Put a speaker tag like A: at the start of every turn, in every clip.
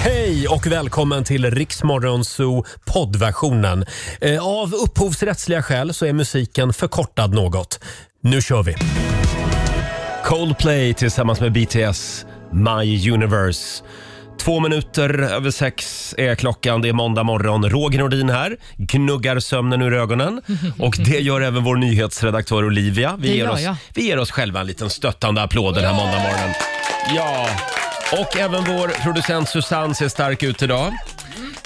A: Hej och välkommen till Riksmorgonzoo poddversionen. Eh, Av upphovsrättsliga skäl så är musiken förkortad något. Nu kör vi! Coldplay tillsammans med BTS, My Universe. Två minuter över sex är klockan. Det är måndag morgon. Roger Nordin här, gnuggar sömnen ur ögonen. Och det gör även vår nyhetsredaktör Olivia. Vi
B: Det
A: ger
B: gör
A: oss,
B: jag.
A: vi ger oss själva en liten stöttande applåd den här måndagmorgonen. Ja, och även vår producent Susanne ser stark ut idag.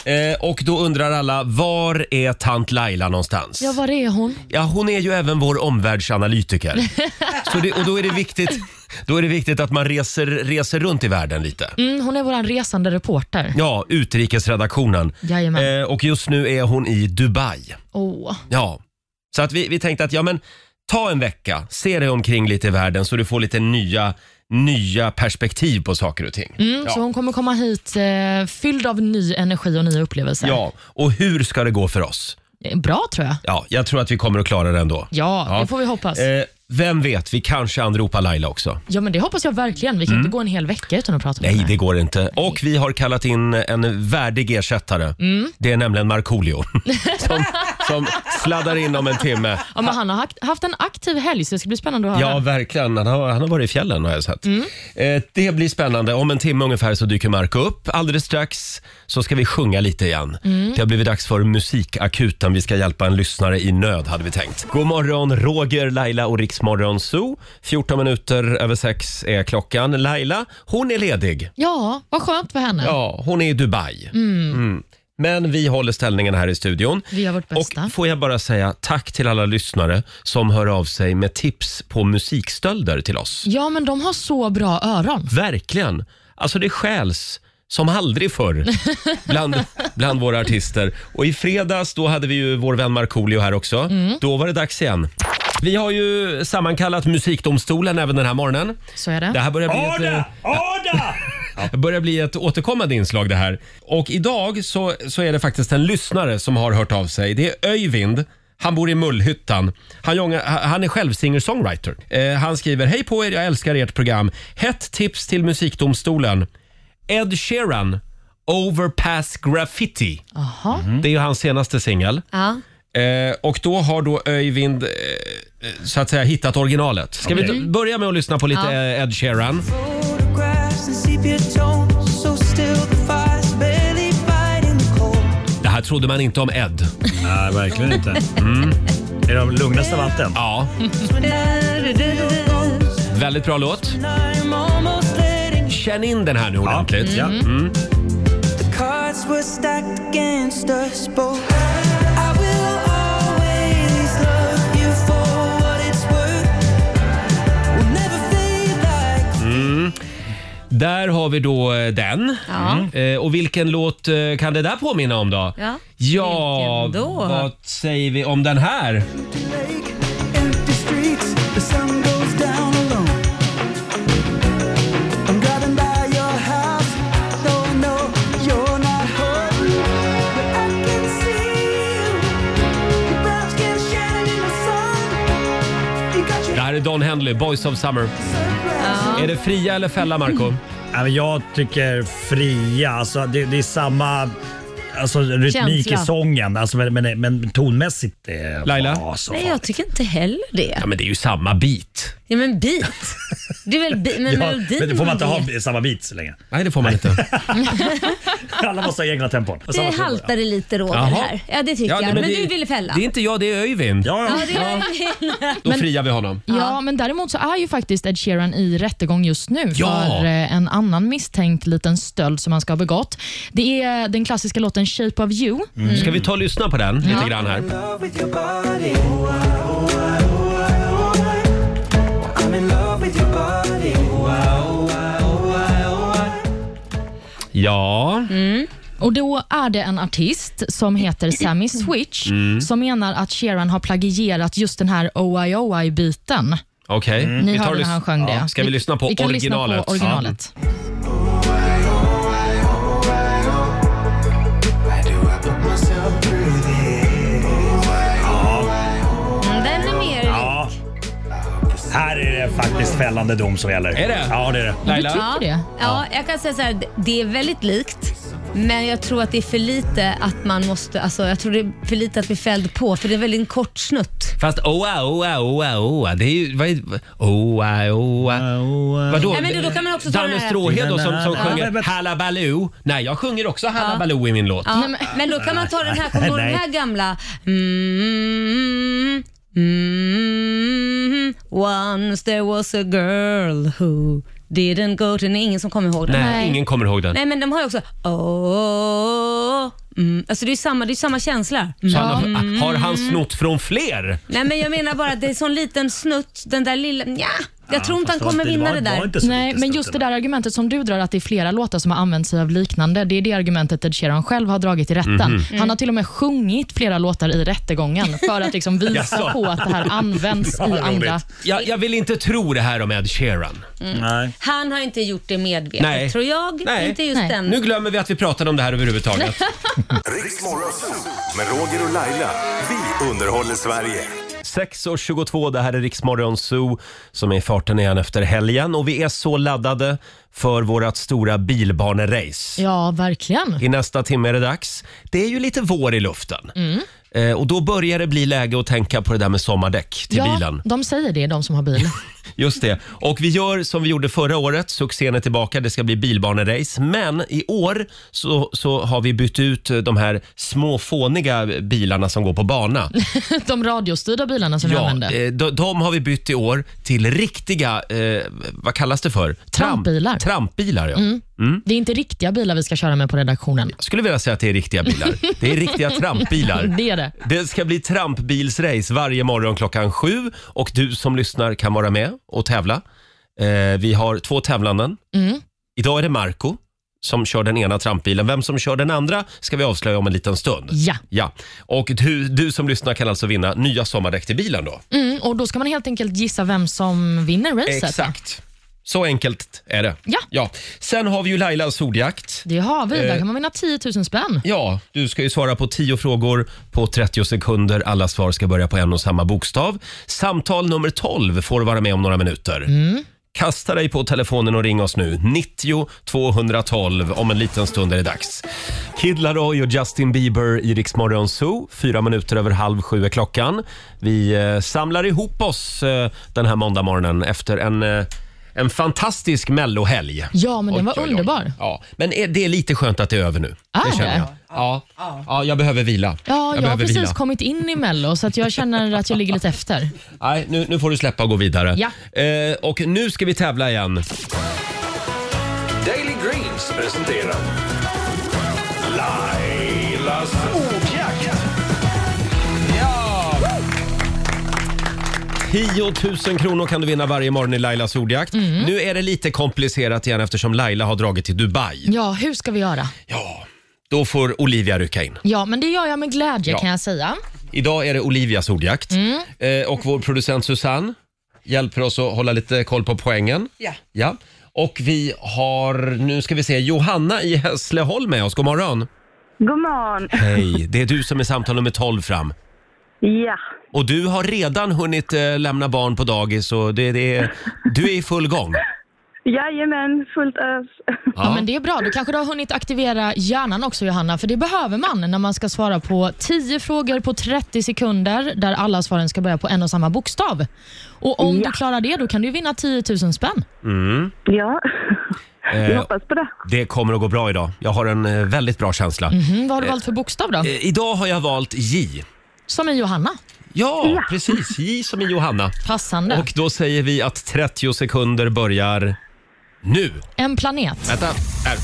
A: Eh, och då undrar alla, var är tant Laila någonstans?
B: Ja, var är hon?
A: Ja, hon är ju även vår omvärldsanalytiker. Så det, och då är, det viktigt, då är det viktigt att man reser, reser runt i världen lite.
B: Mm, hon är vår resande reporter.
A: Ja, utrikesredaktionen.
B: Jajamän.
A: Eh, och just nu är hon i Dubai.
B: Åh.
A: Ja, så att vi, vi tänkte att ja, men, ta en vecka, se dig omkring lite i världen så du får lite nya, nya perspektiv på saker och ting.
B: Mm, Så hon kommer komma hit eh, fylld av ny energi och nya upplevelser.
A: Ja, och hur ska det gå för oss?
B: Eh, Bra tror jag.
A: Ja, jag tror att vi kommer att klara det ändå.
B: Ja,
A: Ja.
B: det får vi hoppas.
A: Eh, vem vet, vi kanske anropar Laila också.
B: Ja, men det hoppas jag verkligen. Vi kan inte gå en hel vecka utan att prata
A: Mm. Nej,
B: med
A: det
B: henne.
A: går inte. Och vi har kallat in en värdig ersättare. Det är nämligen Markoolio som, som sladdar in om en timme.
B: Ja, men han har haft- haft en aktiv helg, så det ska bli spännande att höra.
A: Ja, verkligen. Han har, han har varit i fjällen har jag sett. Eh, det blir spännande. Om en timme ungefär så dyker Marco upp. Alldeles strax så ska vi sjunga lite igen. Det har blivit dags för Musikakuten. Vi ska hjälpa en lyssnare i nöd hade vi tänkt. God morgon Roger, Laila och Riksmorgon Zoo. 14 minuter över sex är klockan. Laila, hon är ledig.
B: Ja, vad skönt för henne.
A: Ja, hon är i Dubai. Mm. Men vi håller ställningen här i studion.
B: Vi gör vårt bästa.
A: Och får jag bara säga tack till alla lyssnare som hör av sig med tips på musikstölder till oss.
B: Ja, men de har så bra öron.
A: Verkligen. Alltså det stjäls som aldrig förr bland, bland våra artister. Och i fredags då hade vi ju vår vän Markoolio här också.
B: Mm.
A: Då var det dags igen. Vi har ju sammankallat musikdomstolen även den här morgonen.
B: Så är det.
A: Det här börjar bli ett... eh,
C: Ada!
A: Det börjar bli ett återkommande inslag det här. Och idag så, så är det faktiskt en lyssnare som har hört av sig. Det är Öyvind. Han bor i Mullhyttan. Han, jonga- han är själv singer-songwriter. Eh, han skriver “Hej på er, jag älskar ert program. Hett tips till musikdomstolen. Ed Sheeran, Overpass Graffiti. Mm.
B: Jaha.
A: Det är ju hans senaste singel.
B: Ja.
A: Eh, och då har då Öyvind eh, eh, så att säga hittat originalet. Ska vi
B: Okej.
A: då- börja med att lyssna på lite
B: Ja.
A: eh, Ed Sheeran?
D: Photographs and sepia tones, so still the fire's barely fighting the cold.
A: Det här trodde man inte om Ed.
C: Nej, verkligen inte. Det är de lugnaste vatten.
A: Ja,
D: When daffodil goes,
A: Väldigt bra låt.
D: and I'm almost letting you-
A: Känn in den här nu ordentligt.
C: Ja.
D: The cards were stacked against us both. I will always love you for what it's worth. We'll never fade like
A: Där har vi då eh, den.
E: Ja.
A: Eh, och vilken låt eh, kan det där påminna om då?
E: Ja.
A: Ja,
E: Vilken då?
A: vad säger vi om den här?
D: empty lake, empty streets. The sun goes down alone. I'm driving by your house. though I know you're not home, but I can see you. Your brown skin shining in the sun. You got your
A: Det här är Don Henley, Boys of Summer.
D: surprise.
A: Är det fria eller fälla, Marco?
C: Nej, men jag tycker fria, alltså, det, det är samma alltså, rytmik
E: Känsla.
C: i sången, alltså, men, men, men tonmässigt. eh,
A: Laila?
C: ja, så
E: Nej,
C: fan.
E: jag tycker inte heller det.
A: Ja, men det är ju samma bit.
E: Ja, men beat. Det är väl beat, men
C: Ja,
E: melodin
C: men det får man inte
E: var
C: ha
E: det.
C: samma beat så länge.
A: Nej, det får man inte.
C: Alla måste ha egna tempon. Samma
E: Det
C: tempo, ja.
E: haltar det lite Roger
A: Jaha.
E: här. Ja, det tycker
A: Ja,
E: jag. Men,
A: det-
E: du ville fälla.
A: Det är inte jag, det är Öyvind.
C: Ja, ja.
E: Ja, det är...
A: Då friar vi honom.
B: Ja, men däremot så är ju faktiskt Ed Sheeran i rättegång just nu
A: Ja.
B: för eh, en annan misstänkt liten stöld som han ska ha begått. Det är den klassiska låten Shape of you.
A: Ska vi ta och lyssna på den lite grann här?
D: love with your body. Ooh, ah, ooh, ah, ooh, ah, ooh, ah. I'm in love with your body. Ooh, ah, ooh, ah, ooh, ah, ooh, ah.
A: Ja,
B: Mm. Och Då är det en artist som heter Sammy Switch
A: Mm.
B: som menar att Sheeran har plagierat just den här OI-OI-biten.
A: okej.
B: Mm. Ni
A: och
B: hörde när
A: lys-
B: han sjöng det.
A: Ska vi lyssna på
B: vi kan
A: originalet?
B: Lyssna på originalet.
D: Why do I put myself through this?
E: Mm, Den är mer...
C: Ja. Här är det faktiskt fällande dom som gäller.
A: Är det?
C: Ja, det är det.
A: Ja. Laila?
B: Du tycker det?
E: Ja, jag kan säga så här, det är väldigt likt. Men jag tror att det är för lite att man måste, alltså jag tror det är för lite att bli fälld på för det är väl en kort snutt.
A: Fast oa, oa, oa, oa. Det är ju... Vad är, oa, oa. Vadå?
E: Nej, men då- då kan man också ta den
A: Danne
E: här-
A: Stråhed då som, som
C: Ja,
A: sjunger
C: men-
A: Hallabaloo. Nej, jag sjunger också Hallabaloo i min låt.
E: Ja, men, då kan man ta den här, kommer du ihåg den här gamla? Mm, mm, once there was a girl who didn't go to... Nej, ingen som kommer ihåg den.
A: Nej,
E: Nej,
B: Nej.
A: ingen kommer ihåg den.
E: men de har ju också... Oh, mm. Alltså det är ju samma, det är samma känsla. Mm.
A: Så han, har- har han snott från fler?
E: Nej men jag menar bara att det är en sån liten snutt, den där lilla... Nja, jag tror inte han
C: Fast
E: kommer
C: det
E: vinna
C: var-
E: det
C: var
E: där.
C: inte så
B: Nej,
C: lite
B: men
C: stort
B: just det
C: ändå.
B: där argumentet som du drar, att det är flera låtar som har använt sig av liknande. Det är det argumentet Ed Sheeran själv har dragit i rätten.
A: Mhm.
B: Han har till och med sjungit flera låtar i rättegången för att liksom
A: Jaså?
B: visa på att det här används i
C: roligt.
B: andra...
A: Jag, jag vill inte tro det här om Ed
E: Mm.
A: Sheeran.
C: Nej.
E: Han har inte gjort det medvetet
A: Nej.
E: tror jag.
A: Nej.
E: Inte just
B: Nej.
E: den.
A: Nu glömmer vi att vi pratade om det här överhuvudtaget.
F: Riksmorgonzoo med Roger och Laila. Vi underhåller Sverige.
A: 6.22, det här är Riksmorgon Zoo som är i farten igen efter helgen och vi är så laddade för vårt stora bilbanerace.
B: Ja, verkligen.
A: I nästa timme är det dags. Det är ju lite vår i luften. Eh, och då börjar det bli läge att tänka på det där med sommardäck till
B: ja,
A: bilen.
B: De säger det, de som har bil.
A: Just det. Och vi gör som vi gjorde förra året. Succén är tillbaka. Det ska bli bilbanerace. Men i år så, så har vi bytt ut eh, de här små fåniga bilarna som går på bana.
B: De radiostyrda bilarna som vi
A: Ja,
B: använder.
A: eh, de, de har vi bytt i år till riktiga, eh, vad kallas det för? Tramp-
B: Trampbilar. Mm.
A: Trampbilar, ja.
B: Det är inte riktiga bilar vi ska köra med på redaktionen.
A: Skulle vilja säga att det är riktiga bilar. Det är riktiga trampbilar.
B: Det är det.
A: Det ska bli trampbilsrace varje morgon klockan sju och du som lyssnar kan vara med och tävla. Eh, vi har två tävlanden.
B: Mm.
A: Idag är det Marco som kör den ena trampbilen. Vem som kör den andra ska vi avslöja om en liten stund.
B: Ja.
A: Ja, och du, du som lyssnar kan alltså vinna nya sommardäck till bilen då.
B: Mm, och Då ska man helt enkelt gissa vem som vinner racet.
A: Exakt. Så enkelt är det.
B: Ja.
A: Sen har vi ju Lailas ordjakt.
B: Det har vi.
A: Eh.
B: Där kan man vinna 10 000 spänn.
A: Ja, du ska ju svara på 10 frågor på 30 sekunder. Alla svar ska börja på en och samma bokstav. Samtal nummer 12 får vara med om några minuter. Kasta dig på telefonen och ring oss nu. 90 212. Om en liten stund är det dags. Kid Laroi och Justin Bieber i Rix Morgon Zoo. Fyra minuter över halv sju är klockan. Vi eh, samlar ihop oss eh, den här måndagmorgonen efter en, eh, en fantastisk mellohelg.
B: Ja, men den
A: Oj,
B: var
A: oj, oj.
B: underbar.
A: Ja, men är- det är lite skönt att det är över nu.
B: Är
A: det känner
B: det?
A: jag. Ja. ja, jag behöver vila.
B: Ja, jag, har
A: behöver
B: precis
A: vila.
B: kommit in i Mello, så att jag känner att jag ligger lite efter.
A: Nej, nu, nu får du släppa och gå vidare.
B: Ja.
A: Eh, och nu ska vi tävla igen.
F: Daily Greens presenterar Lailas ordjakt.
A: 10 000 kronor kan du vinna varje morgon i Lailas ordjakt.
B: Mm.
A: Nu är det lite komplicerat igen eftersom Laila har dragit till Dubai.
B: Ja, hur ska vi göra?
A: Ja, då får Olivia rycka in.
B: Ja, men det gör jag med glädje
A: Ja.
B: kan jag säga.
A: Idag är det Olivias ordjakt. Eh, och vår producent Susanne hjälper oss att hålla lite koll på poängen.
G: Ja.
A: ja. Och vi har, nu ska vi se, Johanna i Hässleholm med oss. God morgon.
H: God morgon.
A: Hej, det är du som är samtal nummer 12 fram.
H: Ja,
A: Och du har redan hunnit eh, lämna barn på dagis och det, det är, du är i full gång.
H: jajamän, fullt ös.
B: Ja. men det är bra. Då kanske du har hunnit aktivera hjärnan också Johanna, för det behöver man när man ska svara på 10 frågor på 30 sekunder där alla svaren ska börja på en och samma bokstav. Och om du klarar det, då kan du vinna 10 000 spänn.
H: Ja, vi
A: Eh,
H: hoppas på det.
A: det kommer att gå bra idag. Jag har en eh, väldigt bra känsla.
B: Mm, vad har du valt för bokstav då?
A: Eh, idag har jag valt J.
B: Som i Johanna.
A: Ja, precis. J som i Johanna.
B: Passande.
A: Och då säger vi att 30 sekunder börjar nu.
B: En planet.
A: Vänta, här.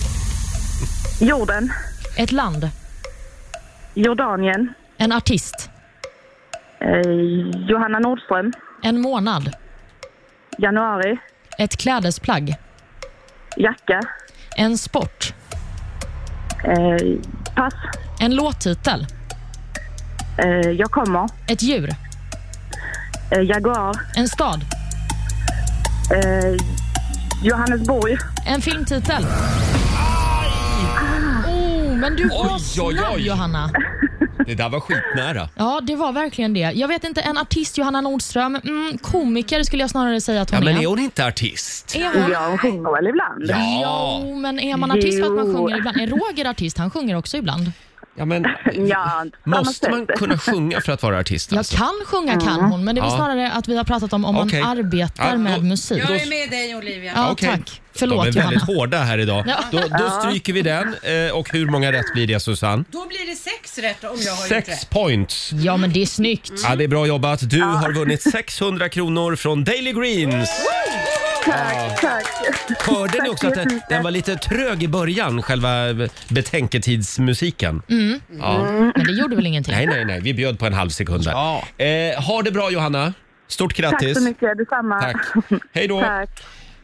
H: Jorden,
B: Ett land.
H: Jordanien,
B: En artist.
H: eh, Johanna Nordström,
B: En månad.
H: januari,
B: Ett klädesplagg.
H: jacka,
B: En sport.
H: eh, pass,
B: En låttitel.
H: eh, jag kommer,
B: Ett djur.
H: eh, Jaguar,
B: En stad.
H: eh, Johannesborg.
B: En filmtitel. Oh, men du var snabb Johanna.
A: Det där var skitnära.
B: Ja, det var verkligen det. Jag vet inte, en artist, Johanna Nordström, mm, komiker skulle jag snarare säga att
A: Ja,
B: hon
A: men
B: är.
A: är hon inte artist?
B: Är hon?
H: Ja, hon sjunger väl ibland?
A: Ja.
B: Jo, men är man artist för att man
H: Jo.
B: sjunger ibland? Är Roger artist? Han sjunger också ibland.
A: ja men,
H: Ja, inte på samma
A: måste man
H: sätt.
A: kunna sjunga för att vara artist?
B: Jag
A: Alltså?
B: kan sjunga kan hon, men det är väl
A: Ja.
B: snarare att vi har pratat om om
A: Okej.
B: man arbetar
A: Ja, då-
B: med musik.
A: Jag är
E: med dig Olivia.
B: Ja,
A: Okej.
B: tack. Förlåt,
A: De är väldigt
B: Johanna.
A: hårda här idag.
B: Ja.
A: Då, då stryker vi den. Eh, Och hur många rätt blir det Susanne?
E: Då blir det sex rätt om jag
A: Sex points.
B: Ja, men det är snyggt.
A: Ja, det är bra jobbat. Du har vunnit 600 kronor från Daily Greens.
H: Tack, tack.
A: Hörde ni också att den, den var lite trög i början, själva betänketidsmusiken?
B: Men det gjorde väl ingenting?
A: Nej, nej, nej. Vi bjöd på en halv sekund där.
G: Ja.
A: Eh, ha det bra Johanna. Stort
H: Tack
A: grattis.
H: så mycket, detsamma.
A: Tack. Hej då.
H: Tack.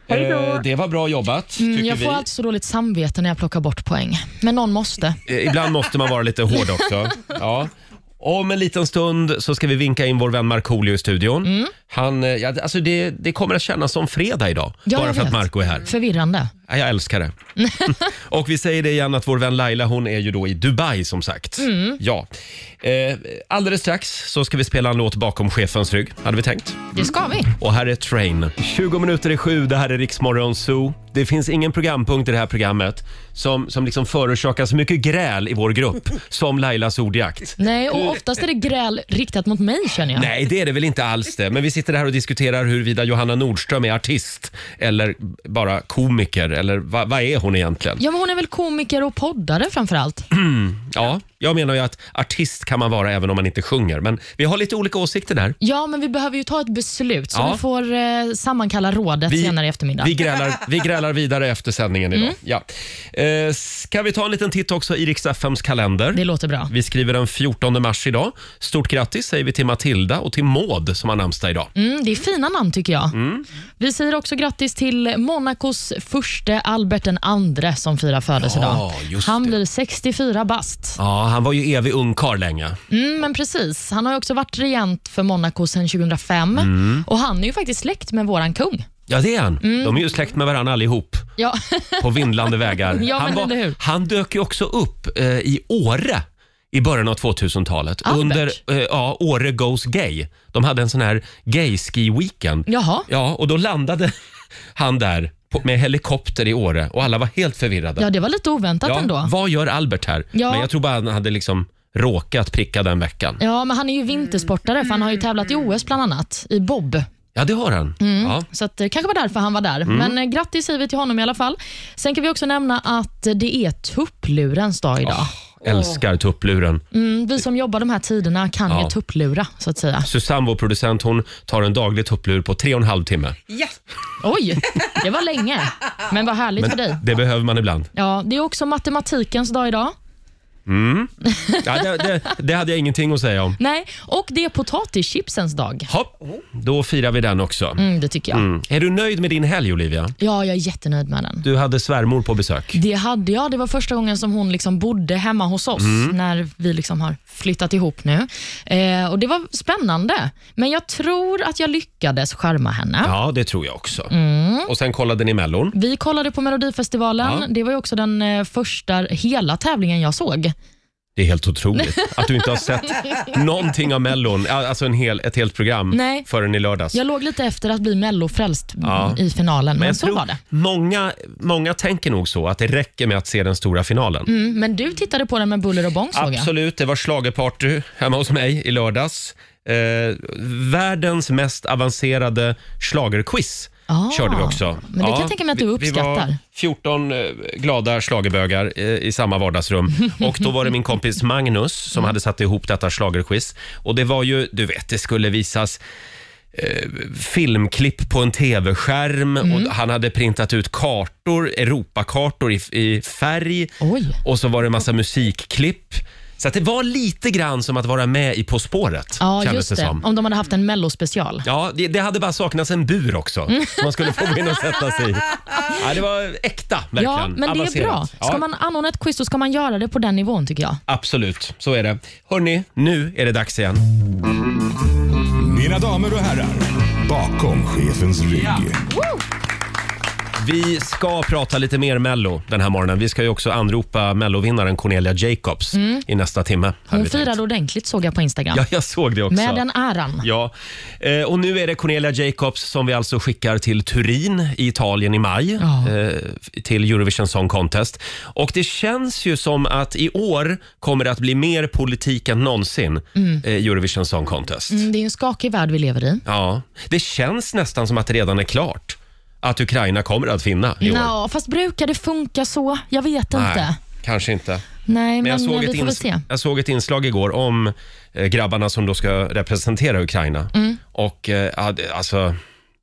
H: Hej då.
A: Eh, det var bra jobbat,
B: Mm,
A: tycker
B: jag
A: vi.
B: får alltid så dåligt samvete när jag plockar bort poäng. Men någon måste.
A: Eh, Ibland måste man vara lite hård också. Ja. Om en liten stund så ska vi vinka in vår vän Markoolio i studion.
B: Mm.
A: Han, eh, ja, alltså det, det kommer att kännas som fredag idag,
B: Ja,
A: bara
B: jag
A: för att
B: vet.
A: Marco är här.
B: Förvirrande.
A: Ja, Jag älskar det. och vi säger det igen att vår vän Laila hon är ju då i Dubai som sagt.
B: Mm.
A: Ja. Eh, alldeles strax så ska vi spela en låt bakom chefens rygg, hade vi tänkt.
B: Det ska vi.
A: Och här är Train. 20 minuter i sju, det här är Riksmorgon Zoo. Det finns ingen programpunkt i det här programmet som, som liksom förorsakar så mycket gräl i vår grupp som Lailas ordjakt.
B: Nej, och oftast är det gräl riktat mot mig känner jag.
A: Nej, det är det väl inte alls det. Men vi sitter här och diskuterar huruvida Johanna Nordström är artist eller bara komiker eller va, vad är hon egentligen?
B: Ja, men hon är väl komiker och poddare framför allt.
A: Mm. Ja, jag menar ju att artist kan man vara även om man inte sjunger. Men vi har lite olika åsikter där.
B: Ja, men vi behöver ju ta ett beslut så
A: Ja.
B: vi får eh, sammankalla rådet
A: Vi,
B: senare i eftermiddag. Mm.
A: vi, grälar, vi grälar vidare efter sändningen idag. Ja. Eh, ska vi ta en liten titt också i riks FMs kalender?
B: Det låter bra.
A: Vi skriver den 14 mars idag. Stort grattis säger vi till Matilda och till Maud som har namnsdag idag.
B: Mm, det är fina namn tycker jag.
A: Mm.
B: Vi säger också grattis till Monacos förste Albert den andre som firar födelsedag.
A: just
B: Han
A: det.
B: blir 64 bast.
A: Ja, han var ju evig ungkarl länge.
B: Mm, men precis. Han har ju också varit regent för Monaco sedan 2005
A: Mm.
B: och han är ju faktiskt släkt med våran kung.
A: Ja, det är han.
B: Mm.
A: De är ju släkt med varandra allihop
B: Ja,
A: på vindlande vägar.
B: Ja,
A: han,
B: men eller hur?
A: han dök ju också upp eh, i Åre i början av 2000-talet.
B: Albert?
A: Under eh, ja, Åre Goes Gay. De hade en sån här gay-ski-weekend.
B: Jaha.
A: Ja, och då landade han där på, med helikopter i Åre och alla var helt förvirrade.
B: ja det var lite oväntat
A: Ja,
B: ändå.
A: Vad gör Albert här?
B: Ja.
A: Men jag tror bara han hade liksom råkat pricka den veckan.
B: Ja, men han är ju vintersportare för han har ju tävlat
A: Mm.
B: i OS bland annat i bob.
A: Ja, det har han. Ja.
B: Så att det kanske var därför han var där.
A: Mm.
B: Men eh, grattis säger vi till honom i alla fall. Sen kan vi också nämna att eh, det är tupplurens dag idag.
A: Ah. Älskar tuppluren.
B: Mm, vi som jobbar de här tiderna kan
A: Ja.
B: ju tupplura så att säga.
A: Susanne, vår producent, hon tar en daglig tupplur på tre och en halv timme.
E: Ja.
B: Oj, det var länge. Men vad härligt för dig.
A: Det behöver man ibland.
B: Ja, det är också matematikens dag idag.
A: Ja, det, det, det hade jag ingenting att säga om.
B: Nej, och det är potatischipsens dag.
A: Hopp, då firar vi den också.
B: Mm, det tycker jag.
A: Mm. Är du nöjd med din helg, Olivia?
B: Ja, jag är jättenöjd med den.
A: Du hade svärmor på besök.
B: Det hade jag. Det var första gången som hon liksom bodde hemma hos oss
A: Mm.
B: när vi liksom har flyttat ihop nu. Eh, och Det var spännande, men jag tror att jag lyckades charma henne.
A: Ja, det tror jag också.
B: Mm.
A: Och sen kollade ni Mellon.
B: Vi kollade på Melodifestivalen.
A: Ja.
B: Det var ju också den eh, första hela tävlingen jag såg.
A: Det är helt otroligt att du inte har sett någonting av Mellon, alltså en hel, ett helt program,
B: Nej.
A: förrän i lördags.
B: Jag låg lite efter att bli mellofrälst mm,
A: Ja.
B: i finalen, men,
A: jag
B: så
A: tror
B: var det.
A: Många, många tänker nog så, att det räcker med att se den stora finalen.
B: Mm, men du tittade på den med buller och bång såg jag.
A: Absolut, det var schlagerparty hemma hos mig i lördags. Eh, världens mest avancerade schlagerquiz
B: Ah,
A: körde vi också.
B: men det kan jag tänka mig att du
A: vi- Vi var
B: uppskattar.
A: 14 eh, glada schlagerbögar eh, i samma vardagsrum. Och då var det min kompis Magnus som hade satt ihop detta schlagerquiz. Och det var ju, du vet, det skulle visas filmklipp på en tv-skärm
B: Mm.
A: och han hade printat ut kartor, Europakartor i, i färg
B: Oj.
A: och så var det en massa musikklipp. Så att det var lite grann som att vara med i På spåret,
B: Ja,
A: kändes
B: just
A: det
B: det.
A: som.
B: Om de hade haft en mellospecial.
A: Ja, det, det hade bara saknats en bur också
B: Mm.
A: som man skulle få gå in och sätta sig i. Ja, det var äkta, verkligen.
B: Ja, men det är
A: Avancerat.
B: bra. Ska
A: Ja,
B: man anordna ett quiz så ska man göra det på den nivån tycker jag.
A: Absolut, så är det. Hörni, nu är det dags igen.
F: Mina damer och herrar, bakom chefens rygg.
A: Vi ska prata lite mer Mello den här morgonen. Vi ska ju också anropa Mellovinnaren Cornelia Jacobs i nästa timme. hade
B: Mm. Hon
A: vi tänkt.
B: firade ordentligt såg jag på Instagram.
A: Ja, jag såg det också.
B: Med den äran.
A: Ja, eh, och nu är det Cornelia Jacobs som vi alltså skickar till Turin i Italien i maj
B: Ja.
A: eh, till Eurovision Song Contest. Och det känns ju som att i år kommer det att bli mer politik än någonsin eh, Eurovision Song Contest.
B: Mm, Det är ju en skakig värld vi lever i.
A: Ja, det känns nästan som att det redan är klart att Ukraina kommer att vinna i år.
B: Nå, fast brukar det funka så? Jag vet inte.
A: kanske inte.
B: Nej, men, eh,
A: Men jag, såg
B: vi
A: ett
B: får väl
A: ins-
B: se.
A: jag såg ett inslag igår om eh, grabbarna som då ska representera Ukraina.
B: Mm.
A: Och eh, ja, det- alltså,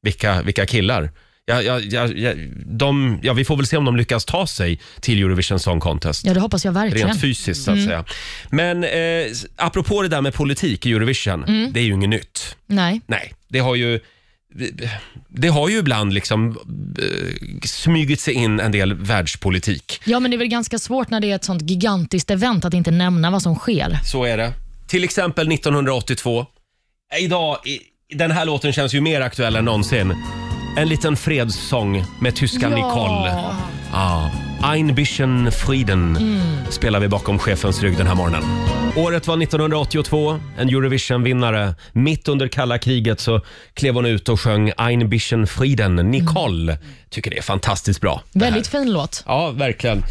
A: vilka, vilka killar. Ja, ja, ja, ja, de, ja, vi får väl se om de lyckas ta sig till Eurovision Song Contest.
B: Ja, det hoppas jag verkligen. Mm.
A: Rent fysiskt så att säga. Men eh, s- apropå det där med politik i Eurovision,
B: Mm.
A: det är ju inget nytt.
B: Nej.
A: Nej, det har ju det har ju ibland liksom eh, smugit sig in en del världspolitik.
B: Ja, men det är väl ganska svårt när det är ett sånt gigantiskt event att inte nämna vad som sker.
A: Så är det. Till exempel 1982. Idag, i, den här låten känns ju mer aktuell än någonsin. En liten fredssång med tyskan Nicole. Ja. Ein bisschen Frieden spelar vi bakom chefens rygg den här morgonen. Året var 1982, en Eurovision-vinnare. Mitt under kalla kriget så klev hon ut och sjöng Ein bisschen Frieden, Nicole. Tycker det är fantastiskt bra. det här.
B: Väldigt fin låt.
A: Ja, verkligen.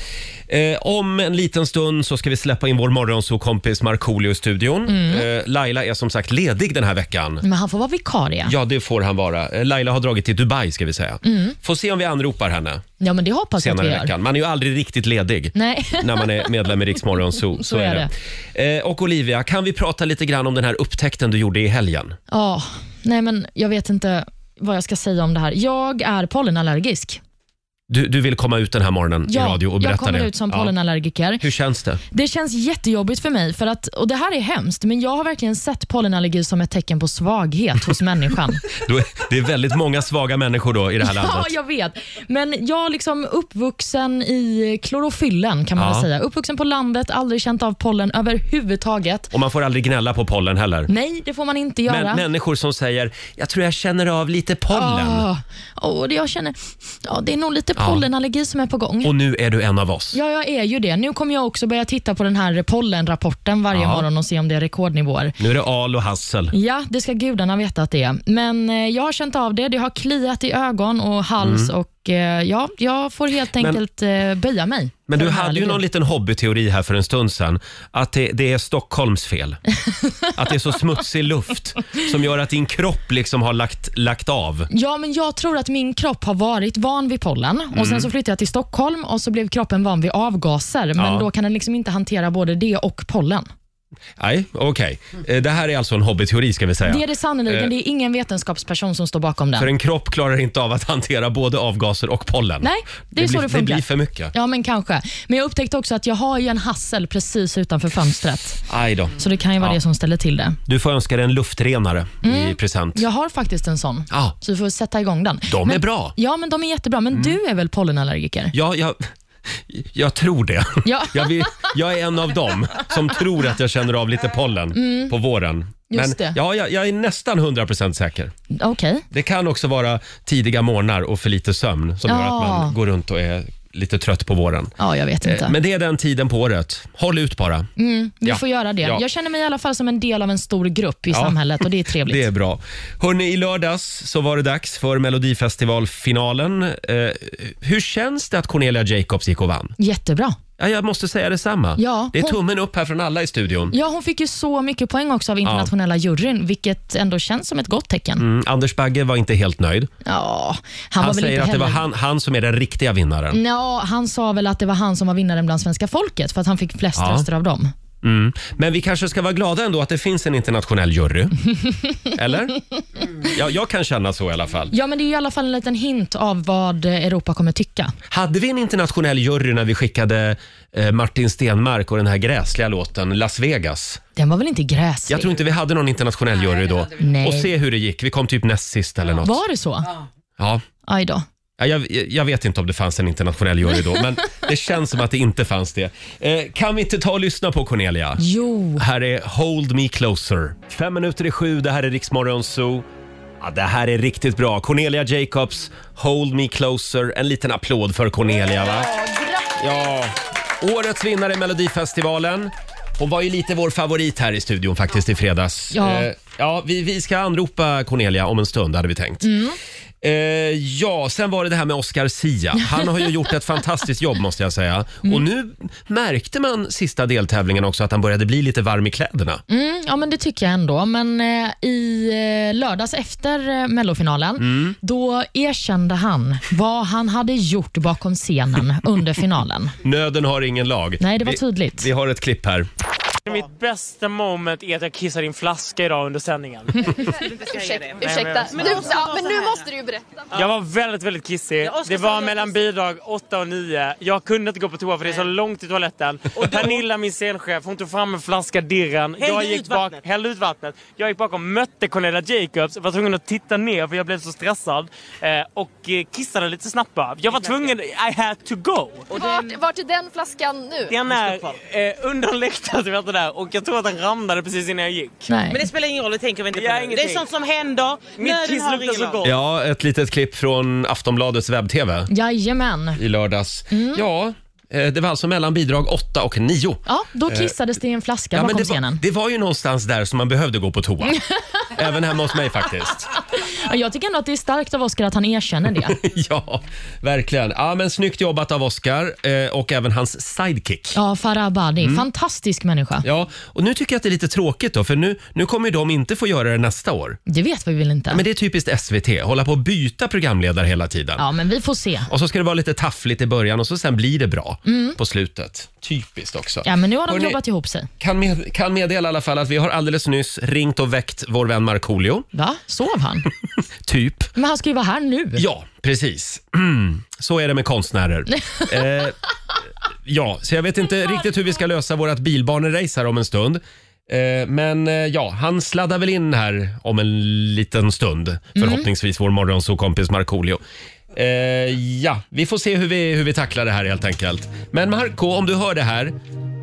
A: Eh, om en liten stund så ska vi släppa in vår morgonsåkompis Markoolio i studion.
B: Mm.
A: Eh, Laila är som sagt ledig den här veckan.
B: Men han får vara vikarie. Ja,
A: Ja, det får han vara. Eh, Laila har dragit till Dubai ska vi säga. Får se om vi anropar henne
B: men Mm. det hoppas jag att
A: senare
B: vi
A: i
B: gör.
A: veckan. Man är ju aldrig riktigt ledig.
B: Nej.
A: när man är medlem i Rix Morgon Zoo. Så, är det. Eh, och Olivia, kan vi prata lite grann om den här upptäckten du gjorde i helgen?
B: Ja, nej men jag vet inte vad jag ska säga om det här. Jag är pollenallergisk.
A: Du, du vill komma ut den här morgonen
B: Ja,
A: i radio och berätta
B: jag kommer
A: det.
B: ut som
A: Ja.
B: pollenallergiker.
A: Hur känns det?
B: Det känns jättejobbigt för mig, för att, och det här är hemskt, men jag har verkligen sett pollenallergi som ett tecken på svaghet hos människan.
A: Då är- Det är väldigt många svaga människor då i det här
B: ja,
A: landet.
B: jag vet. Men jag är liksom uppvuxen i klorofyllen kan man
A: Ja.
B: väl säga. Uppvuxen på landet, aldrig känt av pollen överhuvudtaget.
A: Och man får aldrig gnälla på pollen heller.
B: Nej, det får man inte göra.
A: Men människor som säger “jag tror jag känner av lite pollen”
B: Ah, åh, det jag känner, ja, det är nog lite pollenallergi som är på gång.
A: och nu är du en av oss.
B: Ja, jag är ju det. Nu kommer jag också börja titta på den här pollenrapporten varje
A: Ja.
B: morgon och se om det är rekordnivåer.
A: Nu är det al och hassel.
B: Ja, det ska gudarna veta att det är. Men eh, jag har känt av det. Det har kliat i ögon och hals
A: Mm.
B: och eh, ja, jag får helt enkelt eh, böja mig.
A: Men
B: för
A: du
B: den här
A: hade ju
B: allergin.
A: någon liten hobbyteori här för en stund sedan. Att det, det är Stockholms fel. Att det är så smutsig luft som gör att din kropp liksom har lagt, lagt av.
B: Ja, men jag tror att min kropp har varit van vid pollen och
A: Mm.
B: sen så flyttade jag till Stockholm och så blev kroppen van vid avgaser, men
A: Ja.
B: då kan den liksom inte hantera både det och pollen.
A: Nej, okej. Eh, Det här är alltså en hobbyteori ska vi säga.
B: Det är det
A: Eh.
B: sannoliken. Det är ingen vetenskapsperson som står bakom
A: För
B: den.
A: en kropp klarar inte av att hantera både avgaser och pollen.
B: Nej, det är så
A: blir,
B: det funkar.
A: Det blir för mycket.
B: Ja, men kanske. Men jag upptäckte också att jag har ju en hassel precis utanför fönstret,
A: Aj då.
B: så det kan ju vara
A: Ja.
B: det som ställer till det.
A: Du får önska dig en luftrenare
B: Mm.
A: i present.
B: Jag har faktiskt en sån,
A: Ah.
B: så vi får sätta igång den.
A: De
B: men,
A: är bra. Mm.
B: Ja, men de är jättebra. Men du är väl pollenallergiker?
A: Ja, jag, jag tror det.
B: Ja.
A: Jag, vill, jag är en av dem som tror att jag känner av lite pollen på våren.
B: Mm. Just
A: Men
B: det.
A: Ja, jag, jag är nästan 100% säker.
B: Okej.
A: Det kan också vara tidiga morgnar och för lite sömn som gör att
B: Ja.
A: man går runt och är lite trött på våren.
B: Ja, Mm. jag vet inte.
A: Eh, Men det är den tiden på året. Håll ut bara.
B: Vi
A: ja.
B: får göra det.
A: Ja.
B: Jag känner mig i alla fall som en del av en stor grupp i samhället och det är trevligt.
A: Det är bra. Hörrni, i lördags så var det dags för Melodifestivalfinalen. Eh, hur känns det att Cornelia Jacobs gick och vann?
B: Jättebra.
A: Ja, jag måste säga detsamma.
B: Ja,
A: det är
B: hon-
A: tummen upp här från alla i studion.
B: Ja, hon fick ju så mycket poäng också av internationella juryn, vilket ändå känns som ett gott tecken.
A: Mm, Anders Bagge var inte helt nöjd.
B: Ja, han,
A: Han,
B: var väl
A: säger
B: inte
A: att det
B: heller...
A: var han, han som är den riktiga vinnaren.
B: Ja, han sa väl att det var han som var vinnaren bland svenska folket för att han fick flest
A: Ja.
B: röster av dem.
A: Mm. Men vi kanske ska vara glada ändå att det finns en internationell jury. Eller? Ja, jag kan känna så i alla fall.
B: Ja, men det är ju i alla fall en liten hint av vad eh, Europa kommer tycka.
A: Hade vi en internationell jury när vi skickade eh, Martin Stenmark och den här gräsliga låten Las Vegas?
B: Den var väl inte gräslig?
A: Jag tror inte vi hade någon internationell jury då.
B: Nej.
A: Och se hur det gick. Vi kom typ näst sist eller något.
B: Var det så?
A: Ja.
B: Aj då.
A: Ja, jag, jag vet inte om det fanns en internationell jury då, men det känns som att det inte fanns det. Eh, kan vi inte ta och lyssna på Cornelia?
B: Jo.
A: Här är Hold Me Closer. Fem minuter i sju, det här är Riksmorgon Zoo. Ja, det här är riktigt bra. Cornelia Jacobs, Hold Me Closer. En liten applåd för Cornelia va? Ja, årets vinnare i Melodifestivalen. Hon var ju lite vår favorit här i studion faktiskt i fredags.
B: Ja.
A: Eh, ja vi, vi ska anropa Cornelia om en stund hade vi tänkt.
B: Mm.
A: Eh, ja, sen var det det här med Oscar Sia. Han har ju gjort ett fantastiskt jobb måste jag säga.
B: Mm.
A: Och nu märkte man sista deltävlingen också att han började bli lite varm i kläderna.
B: Mm, ja, men det tycker jag ändå. Men eh, i eh, lördags efter eh, mellofinalen,
A: Mm.
B: då erkände han vad han hade gjort bakom scenen under finalen.
A: Nöden har ingen lag.
B: Nej, det var
A: Vi-
B: tydligt.
A: Vi har ett klipp här.
G: Mitt bästa moment är att jag kissar i en flaska idag under sändningen.
I: Ursäkta, men, du, ja, men nu måste du ju berätta.
G: Jag var väldigt, väldigt kissig. Det var mellan bidrag 8 och 9. Jag kunde inte gå på toa för det är så långt till toaletten. Pernilla, min scenchef, hon tog fram en flaska Dirren. Jag gick bak, hällde ut vattnet. Jag gick bakom, mötte Cornelia Jacobs, var tvungen att titta ner för jag blev så stressad. Eh, och eh, kissade lite snabbt bara. Jag var tvungen, I had to go.
I: Vart, vart är den flaskan nu?
G: Den är eh, under läktarvärden där och jag tror att den ramlade precis innan jag gick.
B: Nej.
J: Men det spelar ingen roll, det tänker vi inte på
G: Ja,
J: nu. Det är
G: ingenting.
J: sånt som händer.
G: Mitt
J: Nöden
G: kiss
J: har
G: luktar
J: ingen
G: så
J: lag.
G: gott.
A: Ja, ett litet klipp från Aftonbladets webb-tv
B: Jajamän.
A: i lördags. Ja, eh, det var alltså mellan bidrag 8 och 9.
B: Mm. Ja, då kissades det i en flaska
A: Eh, Ja,
B: bakom
A: det, var,
B: scenen.
A: det var ju någonstans där som man behövde gå på toa. Även hemma hos mig faktiskt.
B: Ja, Jag tycker ändå att det är starkt av Oscar att han erkänner det.
A: Ja, verkligen. Ja, men snyggt jobbat av Oscar eh, och även hans sidekick.
B: Ja, Farah Abadi. Fantastisk människa.
A: Mm. Ja, och nu tycker jag att det är lite tråkigt då, för nu, nu kommer ju de inte få göra det nästa år.
B: Det vet vi väl inte?
A: Men det är typiskt SVT, hålla på och byta programledare hela tiden.
B: Ja, men vi får se.
A: Och så ska det vara lite taffligt i början och så sen blir det bra
B: Mm.
A: på slutet. Typiskt också.
B: Ja, men nu har de
A: Hörrni,
B: jobbat ihop sig.
A: Kan, med, kan meddela i alla fall att vi har alldeles nyss ringt och väckt vår vän Markoolio.
B: Va? Sov han?
A: Typ.
B: Men han ska ju vara här nu.
A: Ja, precis. Mm. Så är det med konstnärer. eh, ja, så jag vet inte riktigt hur vi ska lösa vårt bilbanerace här om en stund. Eh, men eh, ja, han sladdar väl in här om en liten stund. Förhoppningsvis vår morgonsåkompis Markoolio. Eh, ja, vi får se hur vi, hur vi tacklar det här helt enkelt. Men Marco, om du hör det här,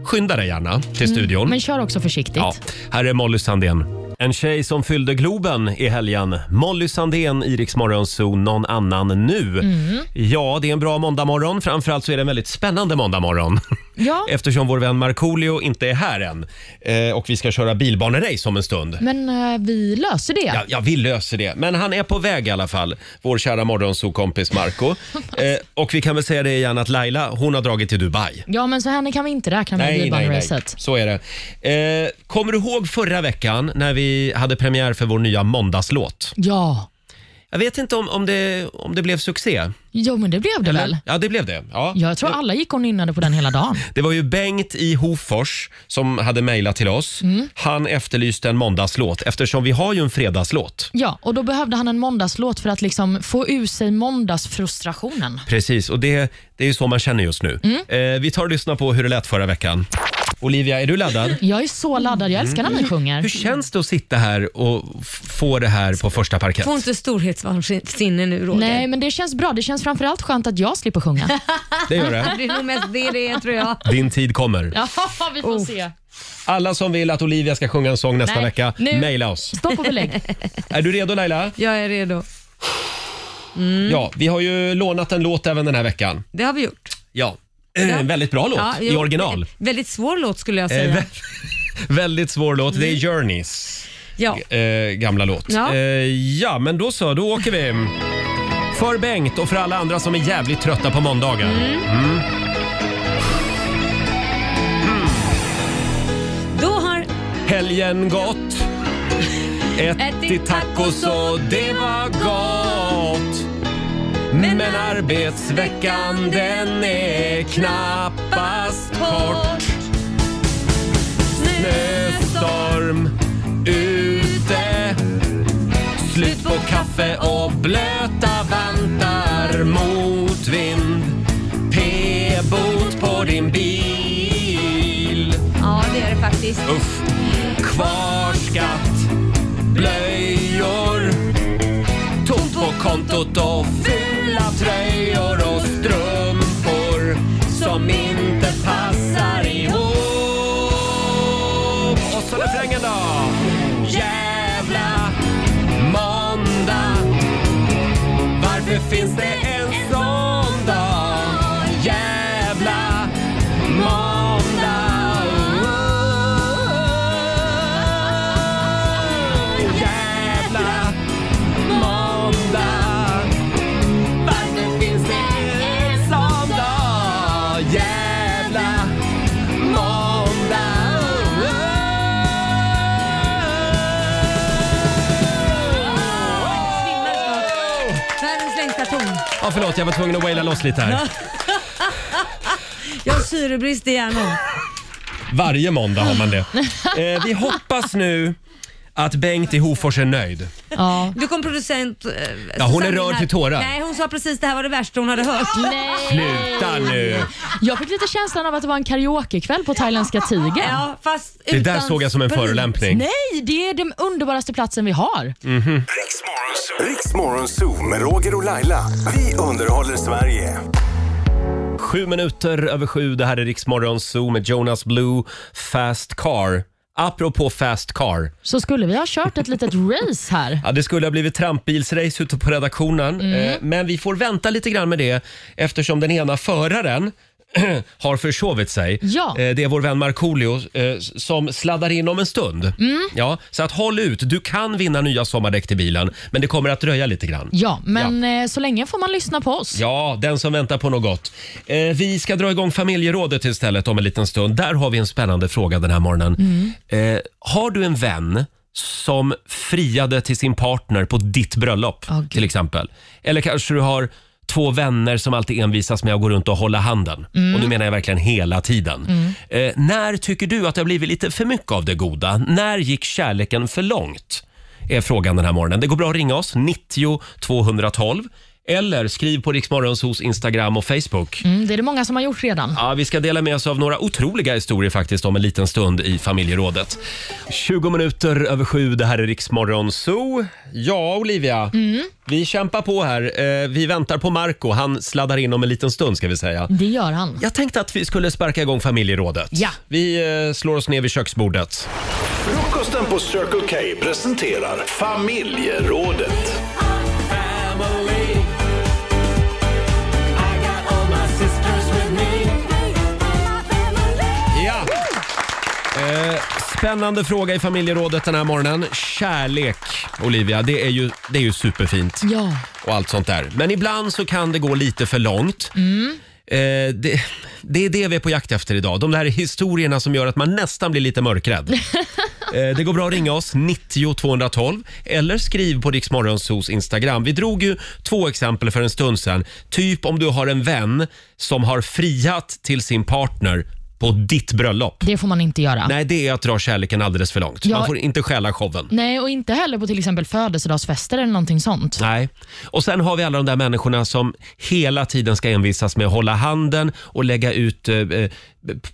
A: skynda dig gärna till studion.
B: Men kör också försiktigt.
A: Ja, här är Molly Sandén. En tjej som fyllde Globen i helgen. Molly Sandén, Iriks morgonzoo, någon annan nu. Ja, det är en bra måndagmorgon. Framförallt så är det en väldigt spännande måndagmorgon.
B: Ja.
A: Eftersom vår vän Markoolio inte är här än. Eh, och vi ska köra bilbanerace om en stund.
B: Men eh, vi löser det.
A: Ja, ja, vi löser det. Men han är på väg i alla fall, vår kära morgonzoo-kompis Marco. Eh, och vi kan väl säga det igen att Laila, hon har dragit till Dubai.
B: Ja, men så henne kan vi inte räkna med i
A: Nej, nej, nej.
B: bilbaneracet.
A: Så är det. Eh, kommer du ihåg förra veckan när vi hade premiär för vår nya måndagslåt?
B: Ja.
A: Jag vet inte om, om, det, om det blev succé.
B: Jo, men det blev det väl?
A: Ja, det blev det. Ja.
B: Jag tror alla gick och nynnade på den hela dagen.
A: Det var ju Bengt i Hofors som hade mejlat till oss. Han efterlyste en måndagslåt eftersom vi har ju en fredagslåt.
B: Ja, och då behövde han en måndagslåt för att liksom få ur sig måndagsfrustrationen.
A: Precis, och det, det är ju så man känner just nu. Eh, vi tar och lyssnar på hur det lät förra veckan. Olivia, är du laddad?
B: Jag är så laddad. Jag älskar när ni
A: Hur
B: sjunger.
A: känns det att sitta här och f- få det här på första parkett?
E: Får inte storhetsvansinne nu Roger.
B: Nej, men det känns bra. Det känns framförallt skönt att jag slipper sjunga.
A: Det gör det.
E: Det är nog mest det det är tror jag.
A: Din tid kommer.
B: Ja, vi får se.
A: Alla som vill att Olivia ska sjunga en sång nästa
B: Nej,
A: vecka,
B: nu-
A: mejla oss.
B: Stopp och belägg.
A: Är du redo Laila?
E: Jag är redo.
A: Ja, vi har ju lånat en låt även den här veckan.
E: Det har vi gjort.
A: Ja. En väldigt bra låt
E: Ja,
A: i
E: jo,
A: original.
E: Väldigt svår låt skulle jag
A: Eh,
E: säga.
A: vä- väldigt svår låt. Det är Journeys
E: Ja.
A: eh, gamla låt.
E: Ja.
A: Eh, ja, men då så. Då åker vi. För Bengt och för alla andra som är jävligt trötta på måndagar.
E: Då har
A: Helgen gått. Ätit tacos och det var gott. Men arbetsveckan den är knappast kort. Snöstorm ute. Slut på kaffe och blöta vantar. Motvind. P-bot på din bil.
E: Ja, det är det faktiskt.
A: Uff. Kvarskatt, blöjor, tomt på kontot och fula tröjor och strumpor som inte passar ihop. Och så refrängen då. Jävla måndag. jävla måndag
E: Världens längsta ton.
A: Ja, förlåt, jag var tvungen att waila loss lite här.
E: Jag har syrebrist i hjärnan.
A: Varje måndag har man det. Eh, vi hoppas nu att Bengt i Hofors är nöjd.
B: Ja.
E: Du kom producent... eh,
A: Ja, hon är
E: Susanne
A: rörd
E: här.
A: till tårar. Ah.
E: Nej, hon sa precis det här var det värsta hon hade hört.
A: Sluta nu!
B: Jag fick lite känslan av att det var en karaokekväll på Thailändska tigern.
E: Ja, fast
A: Det där
E: utan
A: såg jag som en
E: sprit.
A: förolämpning.
B: Nej, det är den underbaraste platsen vi har.
F: Riksmorgon Zoo med Roger och Laila. Vi underhåller Sverige.
A: Sju minuter över sju, det här är Riksmorgon Zoo med Jonas Blue, Fast Car. Apropå Fast Car.
B: Så skulle vi ha kört ett litet race här.
A: Ja, det skulle ha blivit trampbilsrace ute på redaktionen. Eh, Men vi får vänta lite grann med det eftersom den ena föraren har försovit sig.
B: Ja.
A: Eh, Det är vår vän Markoolio eh, som sladdar in om en stund. Ja, så att håll ut. Du kan vinna nya sommardäck till bilen, men det kommer att dröja lite grann.
B: Ja, men eh, så länge får man lyssna på oss.
A: Ja, den som väntar på något gott. Eh, vi ska dra igång familjerådet istället om en liten stund. Där har vi en spännande fråga den här morgonen.
B: Mm.
A: Eh, har du en vän som friade till sin partner på ditt bröllop
B: Åh, Gud.
A: till exempel? Eller kanske du har två vänner som alltid envisas med att gå runt och hålla handen.
B: Mm.
A: Och nu menar jag verkligen hela tiden. Eh, när tycker du att det har blivit lite för mycket av det goda? När gick kärleken för långt? är frågan den här morgonen. Det går bra att ringa oss, 90 212 eller skriv på Riksmorgons hos Instagram och Facebook.
B: Mm, det är det många som har gjort redan.
A: Ja, vi ska dela med oss av några otroliga historier faktiskt om en liten stund i familjerådet. 20 minuter över sju, det här är Riksmorgon Zoo. Ja, Olivia,
B: Mm.
A: vi kämpar på här. Eh, Vi väntar på Marco. han sladdar in om en liten stund ska vi säga.
B: Det gör han.
A: Jag tänkte att vi skulle sparka igång familjerådet.
B: Mm. Ja.
A: Vi eh, slår oss ner vid köksbordet.
J: Frukosten på Circle K presenterar familjerådet.
A: Ja! Eh, spännande fråga i familjerådet den här morgonen. Kärlek, Olivia, det är ju, det är ju superfint
B: Ja.
A: och allt sånt där. Men ibland så kan det gå lite för långt. Eh, det, det är det vi är på jakt efter idag. De där historierna som gör att man nästan blir lite mörkrädd. Eh, Det går bra att ringa oss, 90 212 eller skriv på Riksmorgonsos Instagram. Vi drog ju två exempel för en stund sedan. Typ om du har en vän som har friat till sin partner på ditt bröllop.
B: Det får man inte göra. Nej.
A: Nej, det är att dra kärleken alldeles för långt.
B: Ja.
A: Man får inte stjäla showen.
B: och inte heller på till exempel födelsedagsfester eller någonting sånt.
A: Nej. Och sen har vi alla de där människorna som hela tiden ska envisas med att hålla handen och lägga ut eh, eh,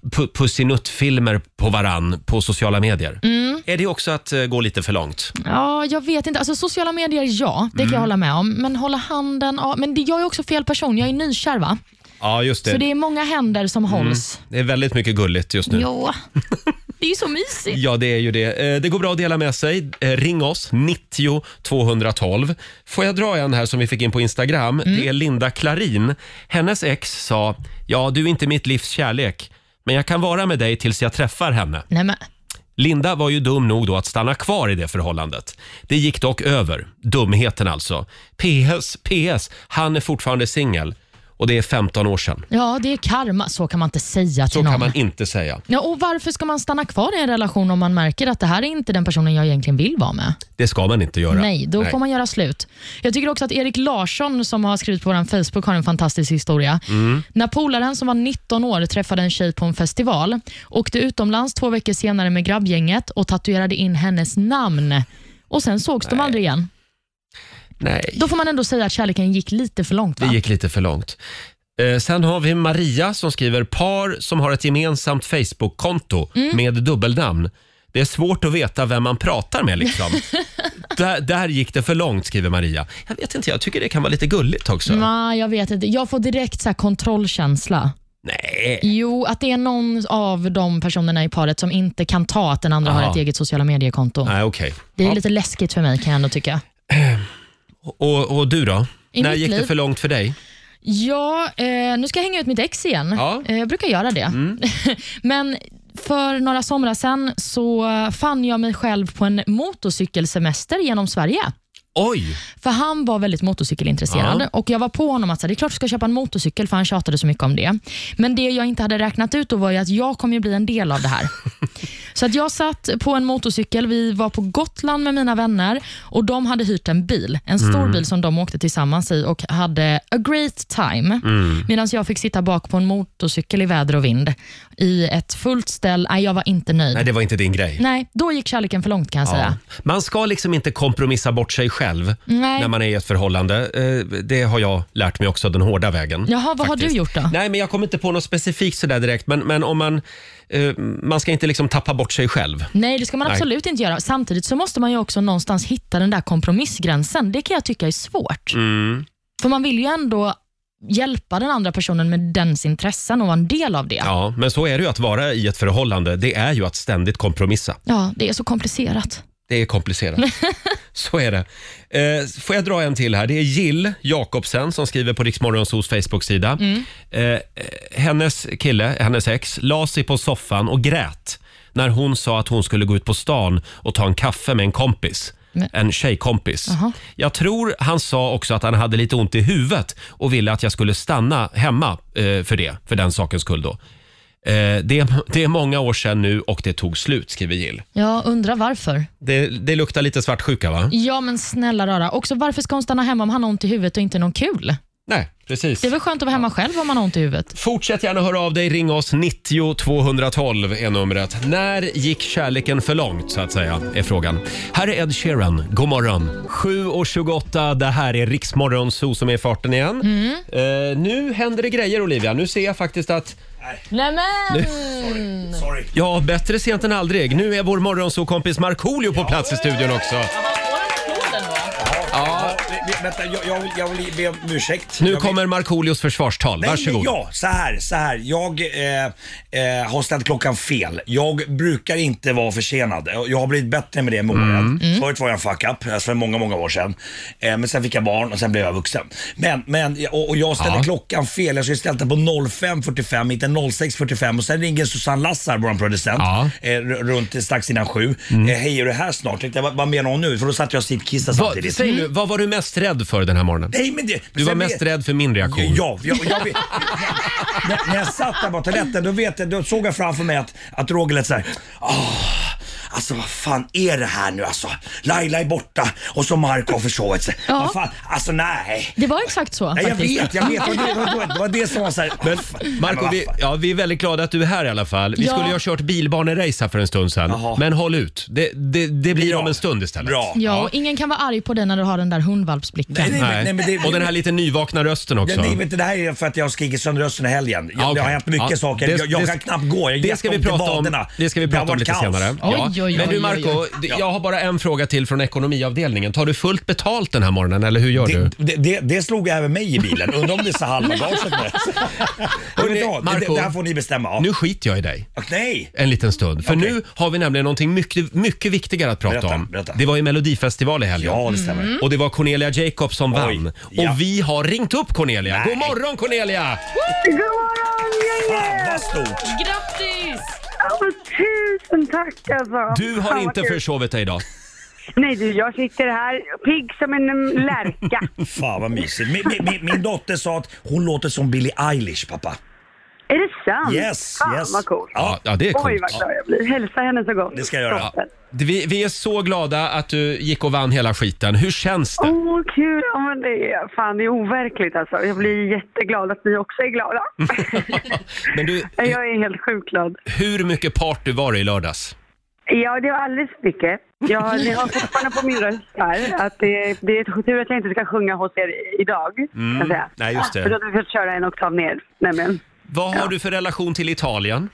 A: pu- pussinutt-filmer på varann på sociala medier.
B: Mm.
A: Är det också att eh, gå lite för långt?
B: Ja, jag vet inte. Alltså, sociala medier, ja. Det kan
A: Mm.
B: jag hålla med om. Men hålla handen... Ja. Men det, jag är också fel person. Jag är nykär, va?
A: Ja, just
B: Så det är många händer som hålls.
A: Det Mm, är väldigt mycket gulligt just nu.
B: Jo. Det är ju så mysigt.
A: Ja, det är ju det. Eh, Det går bra att dela med sig. Eh, Ring oss, 90 212. Får jag dra en här som vi fick in på Instagram?
B: Mm.
A: Det är Linda Klarin. Hennes ex sa, ja du är inte mitt livs kärlek, men jag kan vara med dig tills jag träffar henne.
B: Nej, men,
A: Linda var ju dum nog då att stanna kvar i det förhållandet. Det gick dock över. Dumheten alltså. PS, PS, han är fortfarande singel. Och det är 15 år sedan.
B: ja, det är karma. Så kan man inte säga till
A: Så
B: någon.
A: kan man inte säga.
B: Ja, och varför ska man stanna kvar i en relation om man märker att det här är inte den personen jag egentligen vill vara med?
A: Det ska man inte göra.
B: Nej, då får man göra slut. Jag tycker också att Erik Larsson som har skrivit på vår Facebook har en fantastisk historia.
A: Mm.
B: När polaren som var 19 år träffade en tjej på en festival, åkte utomlands två veckor senare med grabbgänget och tatuerade in hennes namn. Och sen sågs de aldrig igen.
A: Nej.
B: Då får man ändå säga att kärleken gick lite för långt. Va?
A: Det gick lite för långt. Eh, sen har vi Maria som skriver par som har ett gemensamt Facebook-konto
B: Mm.
A: med dubbelnamn. Det är svårt att veta vem man pratar med liksom. där, där gick det för långt skriver Maria. Jag vet inte, jag tycker det kan vara lite gulligt också.
B: Nej, jag vet inte. Jag får direkt så här kontrollkänsla.
A: Nej.
B: Jo, att det är någon av de personerna i paret som inte kan ta att den andra
A: Aha.
B: har ett eget sociala mediekonto.
A: Nej, okej.
B: Det är
A: Ja.
B: lite läskigt för mig kan jag ändå tycka.
A: Och, och du då?
B: I
A: När
B: mitt
A: gick det
B: liv?
A: för långt för dig?
B: Ja, eh, nu ska jag hänga ut mitt ex igen.
A: Ja.
B: Eh, jag brukar göra det. Men för några somrar sedan så fann jag mig själv på en motorcykelsemester genom Sverige.
A: Oj!
B: För han var väldigt motorcykelintresserad
A: Ja.
B: och jag var på honom att så här, det är klart du ska köpa en motorcykel för han tjatade så mycket om det. Men det jag inte hade räknat ut då var ju att jag kommer ju bli en del av det här. så att jag satt på en motorcykel, vi var på Gotland med mina vänner och de hade hyrt en bil, en stor
K: Mm.
B: bil som de åkte tillsammans i och hade a great time.
K: Mm.
B: Medan jag fick sitta bak på en motorcykel i väder och vind i ett fullt ställ. Nej, jag var inte nöjd.
A: Nej, det var inte din grej.
B: Nej, då gick kärleken för långt kan jag säga.
A: Man ska liksom inte kompromissa bort sig själv
B: Nej.
A: när man är i ett förhållande. Eh, Det har jag lärt mig också den hårda vägen.
B: Jaha, vad har
A: faktiskt.
B: du gjort då?
A: Nej, men jag kommer inte på något specifikt sådär direkt. Men, men om man, eh, man ska inte liksom tappa bort sig själv.
B: Nej, det ska man
A: Nej.
B: absolut inte göra. Samtidigt så måste man ju också någonstans hitta den där kompromissgränsen. Det kan jag tycka är svårt.
A: Mm.
B: För man vill ju ändå hjälpa den andra personen med dens intressen och vara en del av det.
A: Ja, men så är det ju att vara i ett förhållande. Det är ju att ständigt kompromissa.
B: Ja, det är så komplicerat.
A: Det är komplicerat. Så är det. Eh, får jag dra en till här? Det är Jill Jakobsen som skriver på Riksmorgonsos Facebook-sida.
B: Mm.
A: Eh, hennes kille, hennes ex, la sig på soffan och grät när hon sa att hon skulle gå ut på stan och ta en kaffe med en kompis.
B: Men-
A: En tjejkompis.
B: Jaha.
A: Jag tror han sa också att han hade lite ont i huvudet och ville att jag skulle stanna hemma eh, för det, för den sakens skull då. Eh, det, är- det är många år sedan nu och det tog slut, skriver Jill.
B: Jag undrar varför.
A: Det, det luktar lite svartsjuka va?
B: Ja, men snälla rara. Också varför ska hon stanna hemma om han har ont i huvudet och inte någon kul?
A: Nej, precis.
B: Det är väl skönt att vara hemma själv om man har ont i huvudet?
A: Fortsätt gärna höra av dig. Ring oss. 90 212 är numret. När gick kärleken för långt, så att säga, är frågan. Här är Ed Sheeran. God morgon. 7.28, det här är Riksmorgon Zoo som är i farten igen. Eh, nu händer det grejer, Olivia. Nu ser jag faktiskt att...
B: Nämen!
A: Ja, bättre sent än aldrig. Nu är vår morgonzoo-kompis Markoolio på plats i studion också.
L: Ja, vä- vänta, jag, jag, vill, jag vill be om ursäkt.
A: Nu
L: jag vill...
A: kommer Markoolios försvarstal.
L: Nej,
A: Varsågod.
L: Ja, så här, så här. Jag eh, eh, har ställt klockan fel. Jag brukar inte vara försenad. Jag jag har blivit bättre med det med
A: Mm.
L: åren. Förut var jag en fuck-up, alltså för många, många år sedan. Eh, men sen fick jag barn och sen blev jag vuxen. Men, men och, och jag ställde
J: Ja.
L: klockan fel. Jag skulle ställt den på 05.45, inte 06.45. Och sen ringer Susanne Lassar, vår producent, eh, r- runt strax innan sju.
A: Mm.
L: Eh, Hej, är du här snart? Tänkte jag, Vad, vad menar hon nu? För då satt jag och sitkissade
A: Vad-
L: samtidigt.
A: säg nu, vad var du mest rädd för den här morgonen?
L: Nej, men det-
A: du var
L: sen
A: mest
L: vet-
A: rädd för min reaktion.
L: Ja, jag, jag vet. när, när jag satt där på toaletten då, vet jag, då såg jag framför mig att, att Roger lät såhär. Alltså vad fan är det här nu alltså? Laila är borta och så Marco har försovit sig.
B: Ja.
L: Vad fan? Alltså nej.
B: Det var exakt så
L: nej jag
B: faktiskt.
L: vet, jag vet. Det var det, det var- det, var det som var såhär. Men
A: Marco, vi, ja, vi är väldigt glada att du är här i alla fall. Vi
L: Ja.
A: skulle ju ha kört bilbanerace här för en stund sedan. Men håll ut. Det, det, det blir om en stund istället. Bra.
B: Ja, och ingen kan vara arg på dig när du har den där hundvalpsblicken.
A: och den här lite nyvakna rösten också.
L: Nej, vet du, det här är för att jag har skrikit sönder rösten i helgen. Jag,
A: Ja, Ah, okej.
L: Det har hänt mycket
A: Ja,
L: saker.
A: det-
L: jag jag
A: det-
L: kan knappt gå. Jag har
A: det ska vi
L: jätteont i
A: prata om,
L: vaderna.
A: det ska vi
L: har
A: prata om
L: varit
A: lite
L: kaos.
A: senare. Ja. Men du Marco, d- jag har bara en fråga till från ekonomiavdelningen. Tar du fullt betalt den här morgonen eller hur gör du?
L: Det, det, det slog även mig i bilen. Undrar om det är så halvbagaget med. Jag vet inte, det-
A: Marco,
L: det här får ni bestämma. Ja.
A: Nu skiter jag i dig.
L: Nej!
A: En liten stund. För nu har vi nämligen någonting mycket, mycket viktigare att prata
L: Berätta,
A: om.
L: berätta.
A: Det var ju Melodifestival i helgen.
L: Ja, det
H: Mm.
L: stämmer.
A: Mm. Och det var Cornelia Jacobs som vann.
L: ja.
A: Och vi har ringt upp Cornelia. God morgon Cornelia!
H: God morgon
L: gänget! Vad stort!
B: Grattis!
H: tusen tack alltså.
A: Du har
H: Fan, vad
A: inte
H: kul.
A: försovit dig idag.
H: Nej du, jag sitter här pigg som en mm, lärka.
L: Fan vad mysigt. Min, min- min, min dotter sa att hon låter som Billie Eilish pappa.
H: Är det sant?
L: Yes,
H: Fan,
L: yes.
H: vad coolt.
A: Ja, ja, det är
H: Oj,
A: coolt.
H: vad glad jag blir. Hälsa henne så gott.
A: Det ska jag göra. Vi, vi är så glada att du gick och vann hela skiten. Hur känns det?
H: Åh, kul! Ja, men det är, fan, det är overkligt alltså. Jag blir jätteglad att ni också är glada.
A: Men du,
H: Jag är helt sjukt glad.
A: hur mycket party var det i lördags?
H: Ja, det var alldeles för mycket. Jag, ni har fortfarande på min röst här att det, det är tur att jag inte ska sjunga hos er idag.
A: Mm.
H: kan jag säga.
A: Nej, just det.
H: För då hade vi fått köra en oktav ner, nämligen.
A: Vad har du för relation till Italien?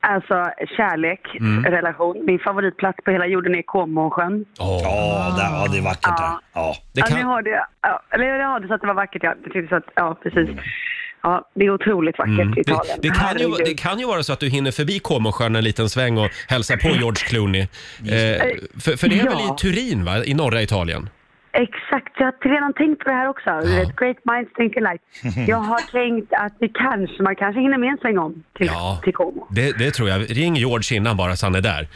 H: Alltså kärlek,
A: Mm.
H: relation. Min favoritplats på hela jorden är Comosjön.
A: Åh,
L: där, ja, det är vackert där. Ja.
H: Ja, ni har det. Ja, eller jag hörde så att det var vackert. Ja, jag tyckte så att, ja precis. Ja, det är otroligt vackert i
A: Mm. Det,
H: Italien.
A: det, kan ju,
H: Herregud.
A: det kan ju vara så att du hinner förbi Comosjön en liten sväng och hälsa på George Clooney. Eh, för, för det är väl i Turin, va? I norra Italien?
H: Exakt, jag har redan tänkt på det här också. Du vet, Great minds think alike. Jag har tänkt att vi kanske, man kanske hinner med en sväng om till,
A: Ja.
H: till Como.
A: Det, det tror jag. Ring George innan bara så han är där.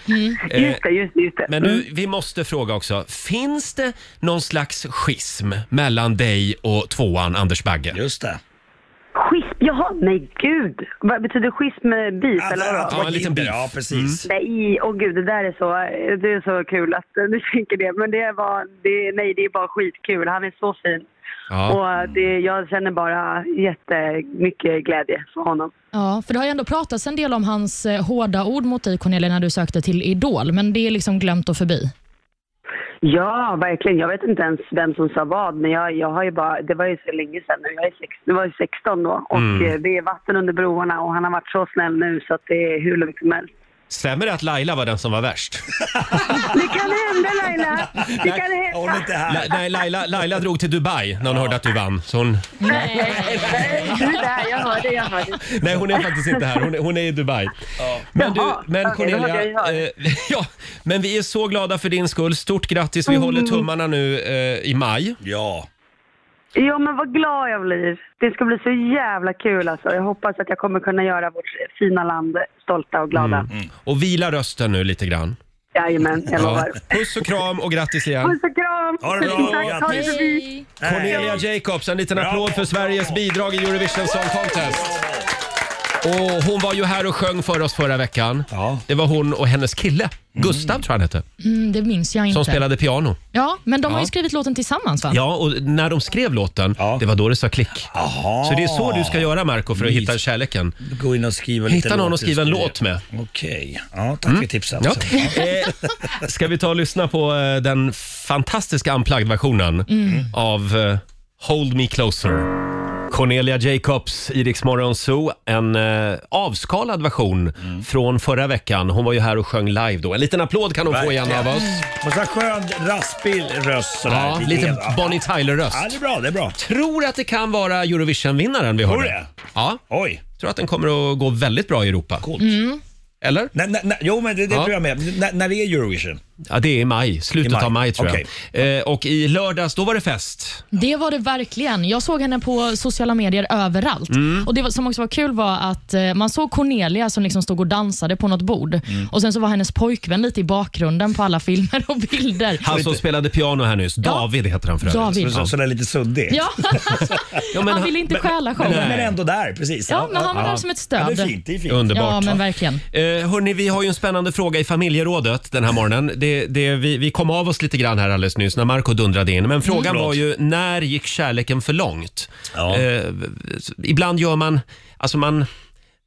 A: Eh,
H: Just det, just det, just det.
A: Men nu, vi måste fråga också. Finns det någon slags schism mellan dig och tvåan Anders Bagge? Just det.
H: Schism, jaha, nej gud. Vad betyder schism? eh, Beef eller vadå?
A: Alltså, Ja, en liten beef. Mm. Ja, precis.
H: Nej, åh gud, det där är så, det är så kul att du tänker det. Men det var, det, nej det är bara skitkul. Han är så fin.
B: Ja.
H: Och det, jag känner bara jättemycket glädje för honom.
B: Ja, för det har ju ändå pratats en del om hans eh, hårda ord mot dig Cornelia när du sökte till Idol, men det är liksom glömt och förbi.
H: Ja, verkligen. Jag vet inte ens vem som sa vad, men jag, jag har ju bara, det var ju så länge sedan nu. Jag är sex, det var ju 16 då och
A: Mm.
H: eh, det är vatten under broarna och han har varit så snäll nu så att det är hur lugnt som helst.
A: Stämmer det att Laila var den som var värst?
H: Det kan hända Laila! Det kan hända!
L: Hon är inte här.
A: La, nej, Laila, Laila drog till Dubai när hon hörde att du vann. Så hon,
H: Nej, nej, du är där. Jag hörde, jag hörde.
A: nej, hon är faktiskt inte här. Hon är, hon är i Dubai. Men, du, men
H: okej, då
A: Cornelia,
H: hörde
A: eh, ja, men vi är så glada för din skull. Stort grattis. Vi
H: Mm.
A: håller tummarna nu eh, i maj. Ja.
H: Ja, men vad glad jag blir. Det ska bli så jävla kul alltså. Jag hoppas att jag kommer kunna göra vårt fina land stolta och glada.
A: Och vila rösten nu lite grann.
H: Jajamän, jag lovar.
A: Puss och kram och grattis igen.
H: Puss och kram!
A: Ha det bra,
H: Tusen tack, ta det
A: grattis.
H: förbi.
A: Cornelia Jacobs, en liten applåd för Sveriges bidrag i Eurovision Song Contest. Och hon var ju här och sjöng för oss förra veckan. Det var hon och hennes kille, Gustav tror jag han hette,
B: Mm, det minns jag inte.
A: som spelade piano.
B: Ja, men de har ju
A: Ja.
B: skrivit låten tillsammans va?
A: Ja, och när de skrev låten, det var då det sa klick. Så det är så du ska göra Marco för att
L: Mys.
A: hitta kärleken.
L: Gå in och skriva lite
A: Hitta någon
L: låt
A: att skriva en
L: just nu.
A: låt med. Mm.
L: Okej, ja, tack för tipset.
A: Ja. Eh, ska vi ta och lyssna på eh, den fantastiska unplugged-versionen
L: Mm.
A: av eh, Hold Me Closer. Cornelia Jacobs i Rix Morgon Zoo. En eh, avskalad version
L: Mm.
A: från förra veckan. Hon var ju här och sjöng live då. En liten applåd kan hon få igen av oss.
L: Och så skön raspig röst sådär.
A: Ja, lite
L: ja.
A: Bonnie Tyler-röst.
L: Ja, det är bra, det är bra.
A: Tror att det kan vara Eurovision-vinnaren vi
L: Tror
A: hörde.
L: det?
A: Ja. Oj. Tror att den kommer att gå väldigt bra i Europa.
B: Mm.
A: Eller?
L: Nej, nej, nej, jo, men det, det
A: Ja.
L: tror jag med. N- när det är Eurovision?
A: Ja, det är i maj. Slutet
L: I maj.
A: av maj tror
L: Okej.
A: jag. Eh, och i lördags, då var det fest.
B: Det var det verkligen. Jag såg henne på sociala medier överallt.
A: Mm.
B: Och Det var- som också var kul var att eh, man såg Cornelia som liksom stod och dansade på något bord.
A: Mm.
B: Och Sen så var hennes pojkvän lite i bakgrunden på alla filmer och bilder.
A: Han som spelade piano här nyss. David heter han för övrigt.
B: David. Så- så-
A: Sådär lite suddig.
B: Ja,
A: men
B: han
A: han-
B: ville inte
A: men-
B: stjäla showen.
A: men- men
L: Ändå där, precis.
B: Ja, men han var
A: Ja.
B: där som ett stöd.
A: Ja, det är fint, det är fint. Underbart.
B: Ja, men verkligen.
A: Eh, hörni, vi har ju en spännande fråga i familjerådet den här morgonen. Det, det, vi, vi kom av oss lite grann här alldeles nyss när Marco dundrade in. Men frågan
L: Förlåt.
A: var ju, när gick kärleken för långt? Eh, ibland gör man, alltså man,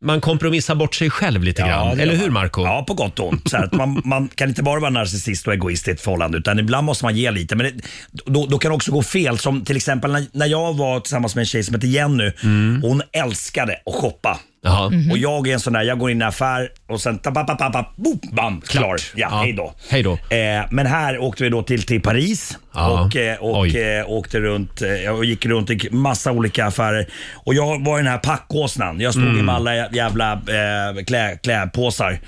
A: man kompromissar bort sig själv lite
L: Ja,
A: grann.
L: det
A: Eller
L: gör
A: hur Marco?
L: Ja, på gott och ont. Så här, att man, man kan inte bara vara narcissist och egoist i ett förhållande utan ibland måste man ge lite. Men det, då, då kan det också gå fel. Som till exempel när, när jag var tillsammans med en tjej som heter Jenny.
A: Mm.
L: Hon älskade att shoppa.
A: Mhm.
L: Och jag är en sån där, jag går in i en affär och sen ta, pa, pa, pa, pa, boom, bam, klar. Ja, hej då.
A: Hej då.
L: Eh, men här åkte vi då till, till Paris
A: Ja.
L: och, eh, och
A: Oj.
L: eh, åkte runt eh, och gick runt i massa olika affärer. Och jag var i den här packåsnan. Jag stod
A: Mm.
L: i med alla jävla eh, klä, klädpåsar.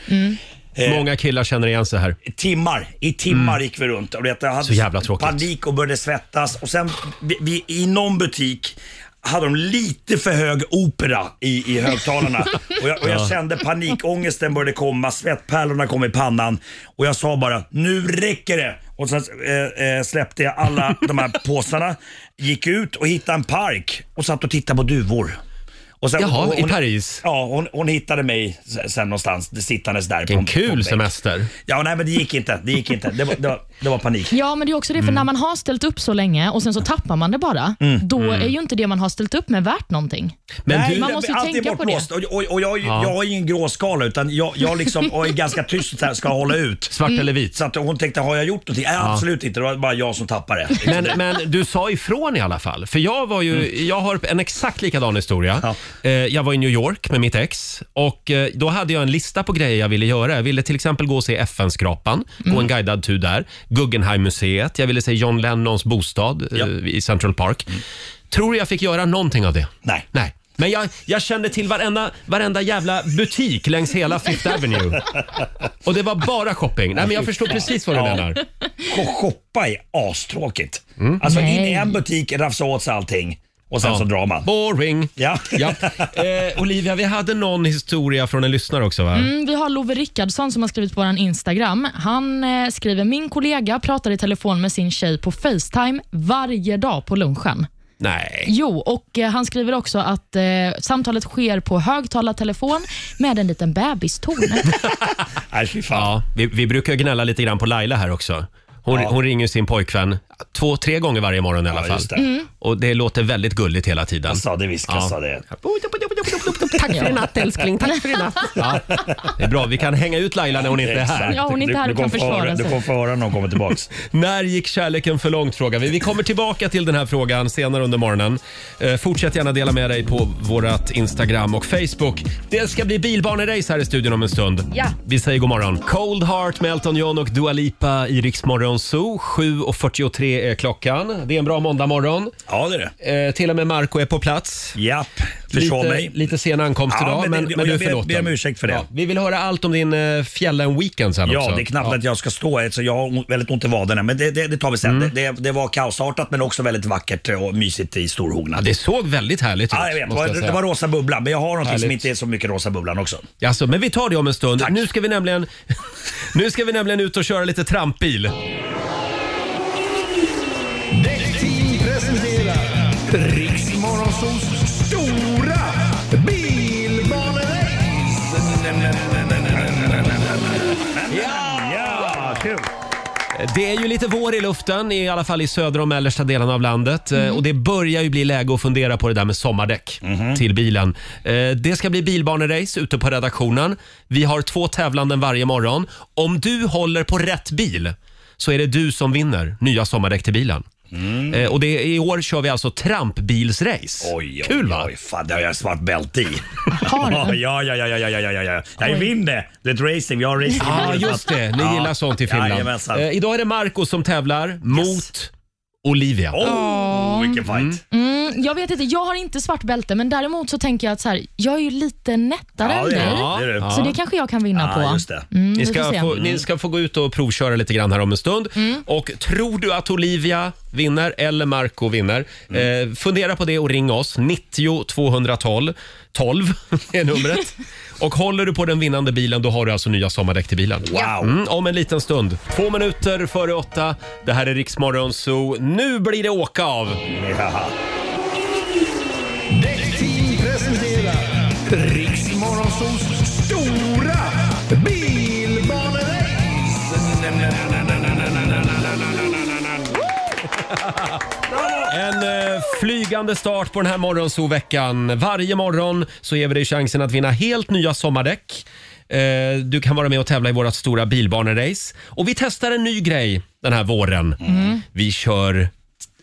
L: Eh.
A: Många killar känner igen sig här.
L: Timmar, i timmar
A: Mm.
L: gick vi runt. Och vet, jag hade
A: Så jävla tråkigt.
L: panik och började svettas. Och sen vi, vi, i någon butik hade de lite för hög opera i, i högtalarna. och jag, och jag
A: Ja.
L: kände panikångesten började komma, svettpärlorna kom i pannan. Och jag sa bara, nu räcker det. Och sen eh, eh, släppte jag alla de här påsarna, gick ut och hittade en park och satt och tittade på duvor. Och
A: Jaha, i Paris?
L: Ja, hon, hon hittade mig s- sen någonstans sittandes där.
A: Vilken kul semester.
L: Ja, nej men det gick inte. Det gick inte. Det var, det var, det var panik.
B: Ja, men det är också det, för
L: Mm.
B: när man har ställt upp så länge och sen så tappar man det bara,
L: Mm.
B: då
L: Mm.
B: är ju inte det man har ställt upp med värt någonting. man måste ju
L: allt är
B: tänka på det.
L: bortblåst. Och, och, och jag,
A: Ja.
L: jag har ingen gråskala utan jag, jag liksom, och är ganska tyst så här, ska hålla ut.
A: Svart
B: Mm.
A: eller vit?
L: Så att hon tänkte, har jag gjort någonting? Nej,
A: Ja.
L: absolut inte. Det Liksom, var bara jag som tappade.
A: Men, men du sa ifrån i alla fall. För jag var ju,
L: Mm.
A: jag har en exakt likadan historia. Eh, jag var i New York med mitt ex och eh, då hade jag en lista på grejer jag ville göra. Jag ville till exempel gå och se FN-skrapan,
L: Mm.
A: gå en guidad tur där. Guggenheim-museet, jag ville se John
L: Mm.
A: Lennons bostad eh, i Central Park. Tror du jag fick göra någonting av det? Nej. Nej. Men jag, jag kände till varenda, varenda jävla butik längs hela Fifth Avenue. Och det var bara shopping. Nej, men jag förstår precis vad du
L: Ja.
A: menar.
L: Shoppa är astråkigt. Alltså in i en butik, rafsa åt sig allting och sen
A: Mm. Ja.
L: så drar man.
A: Boring.
L: Ja.
A: Ja. Eh, Olivia, vi hade någon historia från en lyssnare också va?
B: Mm, vi har Love Rickardsson som har skrivit på vår Instagram. Han eh, skriver, min kollega pratar i telefon med sin tjej på Facetime varje dag på lunchen.
A: Nej.
B: Jo, och eh, han skriver också att eh, samtalet sker på högtalartelefon med en liten bebiston.
L: Nej, fy fan.
A: Ja, vi, vi brukar ju gnälla lite grann på Laila här också. Hon, hon ringer sin pojkvän två, tre gånger varje morgon i alla fall.
L: just det.
B: Mm.
A: Och det låter väldigt gulligt hela tiden. Jag sa
L: det visst, jag sa det.
A: Tack för i natt älskling, tack för i natt. Ja, det är bra, vi kan hänga ut Laila när hon inte är här.
L: Exakt. Du- du kommer få höra- Du kommer få höra när hon kommer tillbaks.
A: När gick kärleken för långt frågar vi. Vi kommer tillbaka till den här frågan senare under morgonen. Eh, fortsätt gärna dela med dig på vårat Instagram och Facebook. Det ska bli bilbanerace här i studion om en stund.
D: Ja.
A: Vi säger god morgon. Cold Heart med Elton John och Dua Lipa i Rix Morgon Zoo. 7.43 är klockan. Det är en bra måndagmorgon.
L: Ja, det är
A: det. Eh, till och med Marco är på plats.
L: Japp,
A: lite,
L: förstår mig.
A: Lite sen ankomst
L: Ja,
A: idag,
L: men det-
A: men, men
L: och
A: du är
L: jag ber-
A: förlåten.
L: ber om ursäkt för det.
A: vi vill höra allt om din eh, fjällen-weekend sen
L: Ja,
A: också.
L: det är knappt att jag ska stå här, så jag har on- väldigt ont i vaderna. Men det, det, det tar vi sen.
A: Mm.
L: Det, det, det var kaosartat men också väldigt vackert och mysigt i Storhogna.
A: Ja, det såg väldigt härligt ut.
L: Ja, jag vet. Det
A: måste
L: var,
A: jag säga.
L: det var rosa bubblan, men jag har någonting som
A: Härligt.
L: inte är så mycket rosa bubblan också.
A: Jaså, men vi tar det om en stund. Nu ska vi nämligen Nu ska vi nämligen ut och köra lite trampbil.
J: Däckteam presenterar Riksmorgonsols stora bilbanerace.
L: Ja, kul!
A: Det är ju lite vår i luften, i alla fall i södra och mellersta delarna av landet.
L: Mhm.
A: Eh, Och det börjar ju bli läge att fundera på det där med sommardäck till bilen. Eh, Det ska bli bilbanerace ute på redaktionen. Vi har två tävlanden varje morgon. Om du håller på rätt bil så är det du som vinner nya sommardäck till bilen. Eh, Och det, i år kör vi alltså trampbilsrace.
L: Mm. Oj, oj,
A: Kul va?
L: Oj, fan, det har jag svart bälte i.
A: Har
L: ja,
A: du?
L: ja, ja, ja, ja, ja, ja, ja. Jag
A: Oj.
L: vinner. Det är ett racing. Vi har racing i
A: Ja,
L: bilen, så att-
A: just det. Ni
L: Ah, Ja.
A: gillar sånt i Finland.
L: Jajamensan.
A: Eh, idag är det Marco som tävlar mot Olivia.
L: Oh, vilken fight.
B: Mm, jag vet inte, jag har inte svart bälte, men däremot så tänker jag att så här, jag är ju lite nättare
A: Ja,
B: än
A: det är
B: dig.
A: du. Ja, det är du.
B: Så det kanske jag kan vinna på. Mm,
A: ni,
B: vi får
A: ska
B: se. Mm.
A: få, ni ska få gå ut och provköra lite grann här om en stund. Och tror du att Olivia vinner eller Marco vinner? Eh, fundera på det och ring oss. 90 212 12 är numret. och håller du på den vinnande bilen då har du alltså nya sommardäck till bilen.
L: Wow.
A: Mm, om en liten stund. Två minuter före åtta. Det här är Riksmorgon Zoo. Nu blir det åka av!
J: Däckteam presenterar Riksmorgonsols stora bilbanerace.
A: En eh, flygande start på den här morgonsoveckan. Varje morgon så ger vi dig chansen att vinna helt nya sommardäck. Eh, du kan vara med och tävla i vårt stora bilbanerace. Och vi testar en ny grej den här våren.
D: Mm.
A: Vi kör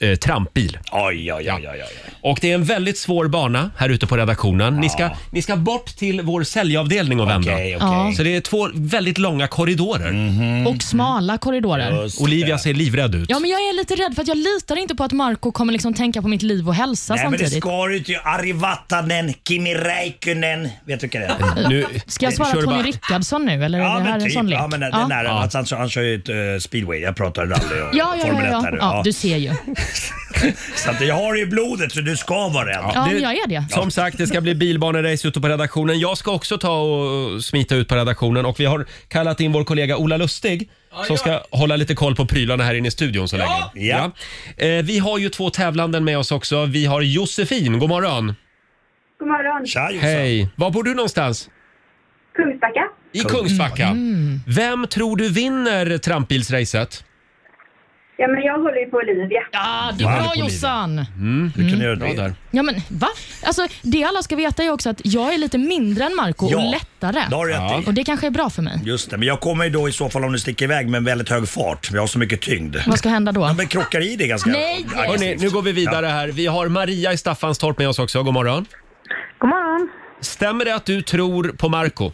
A: eh, trampbil.
L: Oj, oj, oj, oj, oj.
A: Och det är en väldigt svår bana här ute på redaktionen. Ni, ska, ni ska bort till vår säljavdelning och vända.
L: Okej,
B: okej. Ja.
A: Så det är två väldigt långa korridorer.
B: Mm. Och smala korridorer.
A: Olivia ser livrädd ut.
B: Ja, men jag är lite rädd för att jag litar inte på att Marco kommer liksom tänka på mitt liv och hälsa
L: Nej, men det
B: samtidigt.
L: ska du inte. Ari Vatanen, Kimi Räikkönen. Vet du vilka det är?
A: Nu,
B: Ska jag svara Tony Rickardsson nu eller
L: Ja,
B: är det här
L: men
B: en
L: typ.
B: sån lek?
L: Ja, men det, det är nära. Alltså, han, han kör ju ett eh, speedway. Jag pratar rally och
B: Ja, ja,
L: Formel
B: ja,
L: 1
B: ja.
L: här nu.
B: ja, du ser ju.
L: Så att jag har det i blodet så du ska vara rädd.
B: Ja, men jag är det.
A: Som sagt, det ska bli bilbanerace ute på redaktionen. Jag ska också ta och smita ut på redaktionen och vi har kallat in vår kollega Ola Lustig som ska hålla lite koll på prylarna här inne i studion så länge. Ja. Eh, Vi har ju två tävlanden med oss också. Vi har Josefin, god morgon.
H: God morgon.
A: Hej. Var bor du någonstans?
H: Kungsbacka.
A: I Kungsbacka. Vem tror du vinner trampbilsracet?
H: Ja, men jag håller ju på Olivia.
B: Ja,
A: du är Wow. bra,
B: Jossan.
A: Mm.
L: Du kunde göra
A: Bra
L: det.
A: där.
B: Ja, men va? Alltså, det alla ska veta är också att jag är lite mindre än Marco
L: Ja,
B: och lättare.
L: det har du rätt i.
B: Och det kanske är bra för mig.
L: Just det, men jag kommer ju då i så fall om du sticker iväg med en väldigt hög fart. Vi har så mycket tyngd.
B: Vad ska hända då?
L: Ja, men krockar i det ganska
B: Nej.
A: Hörrni, nu går vi vidare här. Vi har Maria i Staffanstorp med oss också. God morgon.
K: God morgon.
A: Stämmer det att du tror på Marco?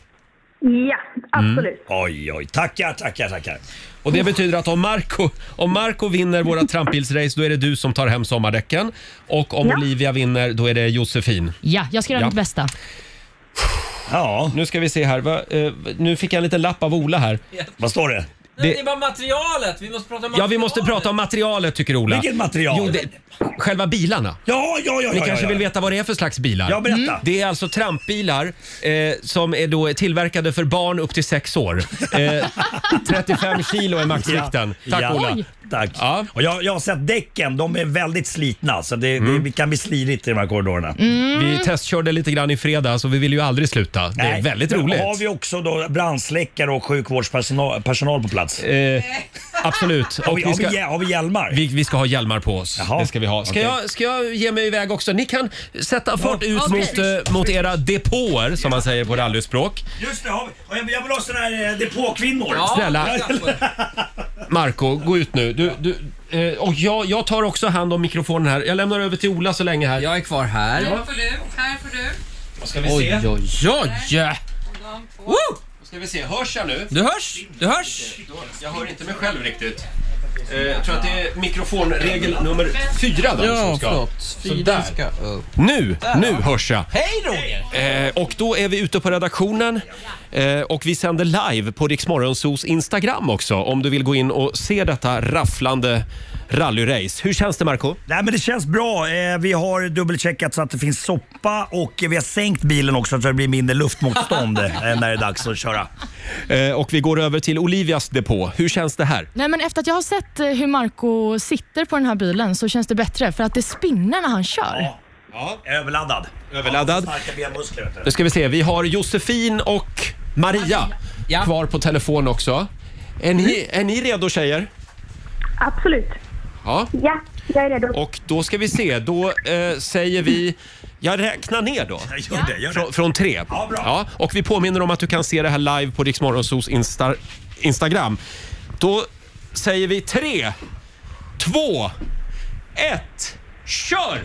K: Ja,
H: Absolut.
L: Oj, oj. Tackar, tackar, tackar.
A: Och det betyder att om Marco, om Marco vinner våra trampbilsrace då är det du som tar hem sommardäcken. Och om
B: Ja.
A: Olivia vinner då är det Josefin.
B: Ja, jag ska göra
A: Ja.
B: mitt bästa.
L: Ja.
A: Nu ska vi se här. Va, eh, nu fick jag en liten lapp av Ola här.
L: Vad står det?
A: det
K: är bara materialet. Vi måste prata om
A: Ja, vi måste prata om materialet tycker Ola.
K: Vilket material?
A: Jo, det, själva bilarna.
L: Ja, ja, ja.
A: Ni
L: ja,
A: kanske
L: ja.
A: vill veta vad det är för slags bilar?
L: Ja, berätta. Mm.
A: Det är alltså trampbilar eh, som är då tillverkade för barn upp till 6 år. Eh, 35 kilo är maxvikten.
L: Ja.
A: Tack
L: Ja.
A: Ola.
L: Oj. Tack. Och jag, jag har sett däcken, de är väldigt slitna så det,
A: Mm.
L: det kan bli slirigt i de här korridorerna.
A: Vi testkörde lite grann i fredags och vi vill ju aldrig sluta. Det är
L: Nej,
A: väldigt
L: men
A: roligt.
L: Har vi också då brandsläckare och sjukvårdspersonal personal på plats?
A: Eh, absolut.
L: Har vi- har vi hjä- hjälmar?
A: Vi, vi ska ha hjälmar på oss. Det ska vi ha. Ska,
L: okej.
A: jag, ska jag ge mig iväg också? Ni kan sätta fart
L: Ja.
A: ut
L: Okej.
A: mot, eh, mot era depåer som man säger på rallyspråk.
L: Just det, har vi, och jag, jag vill ha sådana här eh, depåkvinnor.
A: Ja, Snälla. Marco, gå ut nu. Du, du, eh, och jag, jag tar också hand om mikrofonen här. Jag lämnar över till Ola så länge här. Jag är kvar här.
K: får du, här får du.
A: Vad ska
K: Oj, oj, oj!
A: Woo! Då ska vi se, hörs jag nu?
K: Du hörs, du hörs.
A: Jag hör inte mig själv riktigt. Eh, Jag tror att det är mikrofonregel nummer fyra där
K: Ja,
A: som ska.
K: förlåt.
A: Sådär. Nu, nu hörs jag.
K: Hej Roger!
A: Eh, och då är vi ute på redaktionen eh, och vi sänder live på Riksmorgonsos Instagram också om du vill gå in och se detta rafflande rallyrace. Hur känns det Marco?
L: Nej men det känns bra. Eh, vi har dubbelcheckat så att det finns soppa och eh, vi har sänkt bilen också så att det blir mindre luftmotstånd eh, när det är dags att köra.
A: Eh, och vi går över till Olivias depå. Hur känns det här?
B: Nej, men efter att jag har sett eh, hur Marco sitter på den här bilen så känns det bättre för att det spinner när han kör.
A: Ja,
L: överladdad.
A: Överladdad.
L: Starka benmuskler vet du.
A: Nu ska vi se, vi har Josefin och Maria kvar på telefon också. Är ni, är ni redo tjejer? Mm.
M: Absolut.
A: Ja.
M: Ja, jag är redo.
A: Och då ska vi se, då eh, säger vi... Jag räknar ner då.
L: Gör det, gör det.
A: Från, från tre. Ja, bra. och vi påminner om att du kan se det här live på Riksmorgonsos Insta, Instagram. Då säger vi tre, två, ett, kör!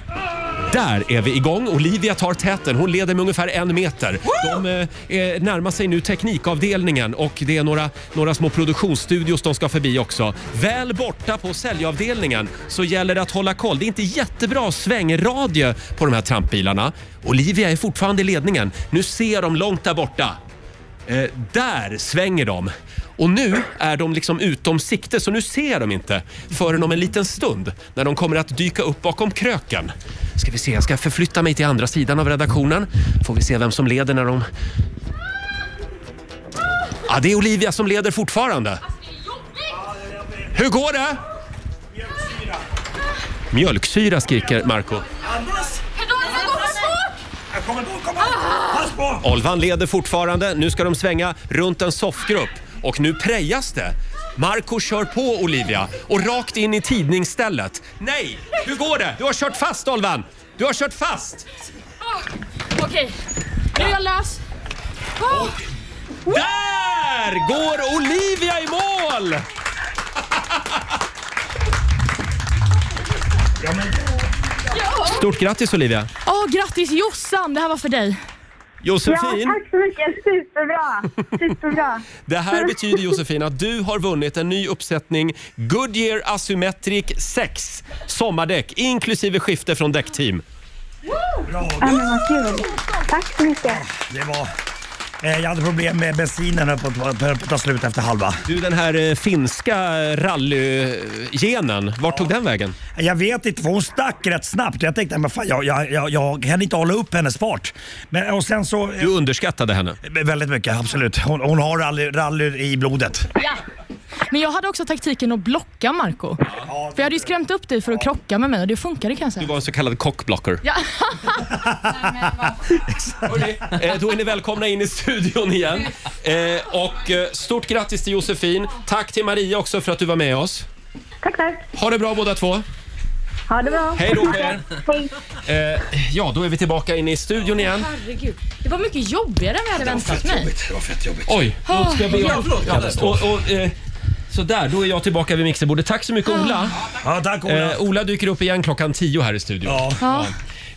A: Där är vi igång. Olivia tar täten. Hon leder med ungefär en meter. De eh, eh, närmar sig nu teknikavdelningen och det är några, några små produktionsstudios de ska förbi också. Väl borta på säljavdelningen så gäller det att hålla koll. Det är inte jättebra svängradie på de här trampbilarna. Olivia är fortfarande i ledningen. Nu ser de långt där borta. Eh, där svänger de. Och nu är de liksom utom sikte så nu ser jag dem inte förrän om en liten stund när de kommer att dyka upp bakom kröken. Ska vi se, jag ska förflytta mig till andra sidan av redaktionen. Får vi se vem som leder när de... Ja, det är Olivia som leder fortfarande. Hur går det? Mjölksyra skriker Marco.
L: Andas! Jag kommer bort, kommer bort! Pass på!
A: Olvan leder fortfarande. Nu ska de svänga runt en soffgrupp och nu prejas det. Marco kör på Olivia och rakt in i tidningsstället. Nej, hur går det? Du har kört fast Olvan! Du har kört fast!
B: Ah, Okej, nu är jag lös. Oh,
A: Där går Olivia i mål! Stort grattis Olivia!
B: oh, grattis Jossan, det här var för dig.
A: Josefin,
M: tack så mycket. Superbra. Superbra.
A: det här betyder Josefin att du har vunnit en ny uppsättning Goodyear Asymmetric 6 sommardäck inklusive skifte från däckteam.
L: Bra.
M: Ja, men vad kul. Tack så mycket.
L: Det var... Eh, jag hade problem med bensinen höll på att- höll på att ta slut efter halva.
A: Du, den här eh, finska rallygenen, vart tog den vägen?
L: Jag vet inte, för hon stack rätt snabbt. Jag tänkte, men fan, jag, jag, jag, jag kan inte hålla upp hennes fart. Men, och sen så... eh,
A: Du underskattade henne?
L: Väldigt mycket, absolut. Hon, hon har rally, rally i blodet.
B: Men jag hade också taktiken att blocka Marco. För jag hade ju skrämt upp dig för att krocka med mig och det funkade kan jag
A: Du
B: säga.
A: var en så kallad cockblocker.
B: Ja.
A: Eh, Då är ni välkomna in i studion igen. Eh, Och eh, stort grattis till Josefin. Tack till Maria också för att du var med oss.
M: Tack, tack.
A: Ha det bra båda två.
M: Ha det bra.
A: Hej, Roger.
M: Hej.
A: Eh, Ja, då är vi tillbaka inne i studion igen.
B: Herregud, det var mycket jobbigare än vad jag hade väntat mig.
L: Det var fett jobbigt.
A: Oj!
B: Ah,
A: Ska jag be
B: ja,
A: om...
B: förlåt,
A: och, och, eh, så där, då är jag tillbaka vid mixerbordet. Tack så mycket Ola.
L: Ja, tack
A: Ola. Eh, Ola dyker upp igen klockan 10 här i studion.
L: Ja.
B: Ja.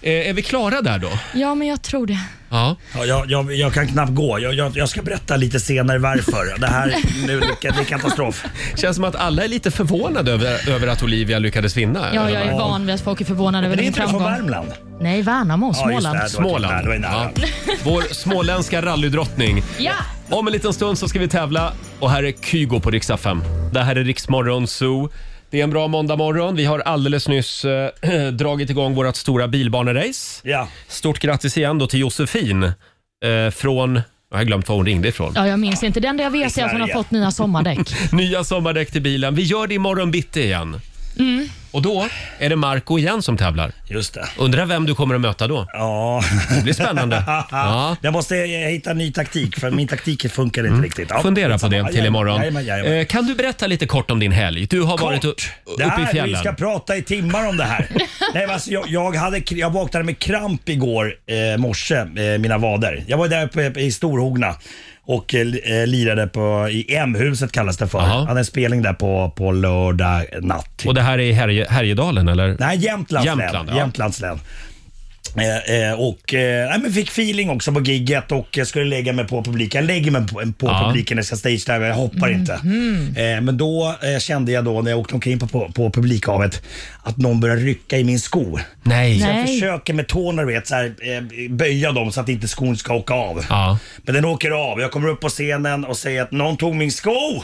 A: Eh, är vi klara där då?
B: Ja, men jag tror det.
K: Ja.
L: jag, jag, jag kan knappt gå. Jag, jag, jag ska berätta lite senare varför. Det här nu, det är katastrof.
A: Känns som att alla är lite förvånade över, över att Olivia lyckades vinna. eh,
B: Ja, jag är van vid att folk är förvånade över
A: Men är
B: din
A: inte du
B: framgång.
A: från Värmland?
B: Nej, Värnamo, Småland.
A: Småland. Ja. Vår småländska rallydrottning.
B: Ja.
A: Om en liten stund så ska vi tävla och här är Kygo på riksdag 5. Det här är Riksmorgon Zoo. Det är en bra måndagmorgon. Vi har alldeles nyss eh, dragit igång vårt stora bilbanerace.
L: Ja.
A: Stort grattis igen då till Josefin eh, från... Jag har glömt var hon ringde ifrån.
B: Ja, jag minns inte. Det enda jag vet är att hon har
A: Sverige.
B: fått nya sommardäck.
A: Nya sommardäck till bilen. Vi gör det imorgon bitti igen.
B: Mm.
A: Och då är det Marco igen som tävlar.
L: Just det.
A: Undrar vem du kommer att möta då?
L: Ja.
A: Det blir spännande. Ja. Mm.
L: Jag måste eh, hitta en ny taktik för min taktik funkar inte riktigt. Ja,
A: Fundera på det
L: samma.
A: till imorgon.
L: Jajamän, jajamän.
A: Eh, Kan du berätta lite kort om din helg? Du har varit upp, uppe
L: Det
A: i
L: här, vi
A: fjällen.
L: ska prata i timmar om det här. Nej, men alltså, jag, jag, hade, kr- jag vaknade med kramp igår eh, morse, eh, mina vader. Jag var där uppe i Storhogna och eh, li- eh, lirade på, i M-huset kallas det för. Jag hade en spelning där på, på lördag natt.
A: Och det här är i Härje, Härjedalen eller?
L: Typ. Nej, Jämtlands län.
A: Jämtland, ja.
L: Jämtlands län. Eh, eh, och eh, nej, men fick feeling också på gigget och jag skulle lägga mig på publiken. Jag lägger mig på, på
J: Ja.
L: publiken när jag ska stage dive, jag hoppar inte. Eh, men då eh, kände jag då när jag åkte omkring på, på, på publikhavet att någon började rycka i min sko.
A: Nej.
L: Så jag
J: Nej.
L: försöker med tårna du vet, så här, eh, böja dem så att inte skon ska åka av. Men den åker av. Jag kommer upp på scenen och säger att någon tog min sko.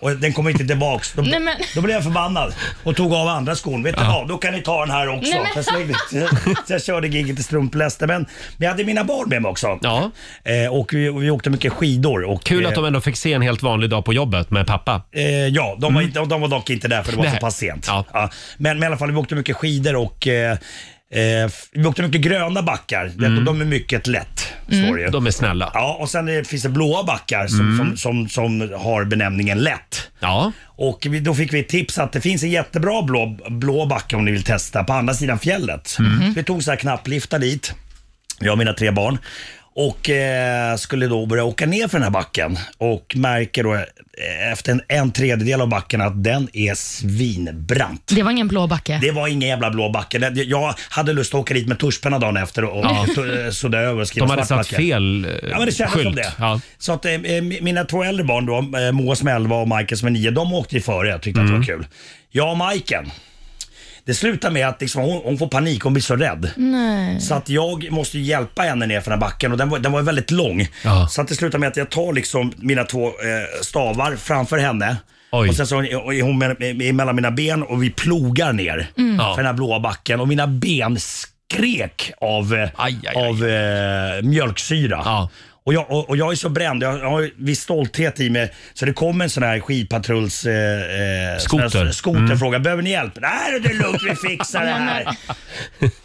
L: Och den kommer inte tillbaks. Då,
B: Nej, men-
L: då blev jag förbannad och tog av andra skon. Vet du
J: Ja.
L: vad, då kan ni ta den här också.
J: Nej, men-
L: Jag slängde- så jag körde giget i strumpläste. Men jag hade mina barn med mig också.
A: Ja.
L: Eh, och vi, vi åkte mycket skidor. Och,
A: Kul
L: eh,
A: att de ändå fick se en helt vanlig dag på jobbet med pappa.
L: Eh, ja, de var, inte, de var dock inte där för det var
A: Mm. Nej.
L: så pass sent. Ja. Men, men i alla fall, vi åkte mycket skidor och eh, eh, f- vi åkte mycket gröna backar. Vet du,
A: Mm.
L: De är mycket lätt. Står det ju.
A: De är snälla.
L: Ja, och sen är, finns det blåa backar som,
A: Mm.
L: som, som, som har benämningen lätt.
A: Ja.
L: Och vi, då fick vi ett tips att det finns en jättebra blå, blå backe om ni vill testa på andra sidan fjället.
J: Mm.
L: Vi tog så här knappliftar dit, jag och mina tre barn. Och eh, skulle då börja åka ner för den här backen och märker då eh, efter en, en tredjedel av backen att den är svinbrant.
B: Det var ingen blå backe.
L: Det var ingen jävla blå backe. Det- Jag hade lust att åka dit med tuschpenna dagen efter och
A: Ja.
L: ja. sudda över och skriva
A: De hade
L: svart
A: satt
L: backe.
A: fel eh,
L: Ja, men det kändes
A: skylt.
L: som det.
A: Ja.
L: Så att eh, eh, mina två äldre barn då, eh, Moa som är 11 och Michael som är 9, de åkte ju före. Jag tyckte att det
A: Mm.
L: var kul. Jag och Michael. Det slutar med att liksom, hon, hon får panik, hon blir så rädd.
B: Nej.
L: Så att jag måste ju hjälpa henne ner för den här backen och den var, den var väldigt lång. Så att det slutar med att jag tar liksom mina två eh, stavar framför henne. Och sen så är hon med- med- mellan mina ben och vi plogar ner
J: Mm.
L: för den här blåa backen och mina ben skrek av, eh, av eh, mjölksyra. Och jag, och, och jag är så bränd, jag har ju viss stolthet i mig. Så det kom en sån här skidpatrulls... Eh, eh,
J: Skoter.
L: sån här skoter
J: Mm.
L: frågar, behöver ni hjälp? Nej, det är lugnt, vi fixar det här.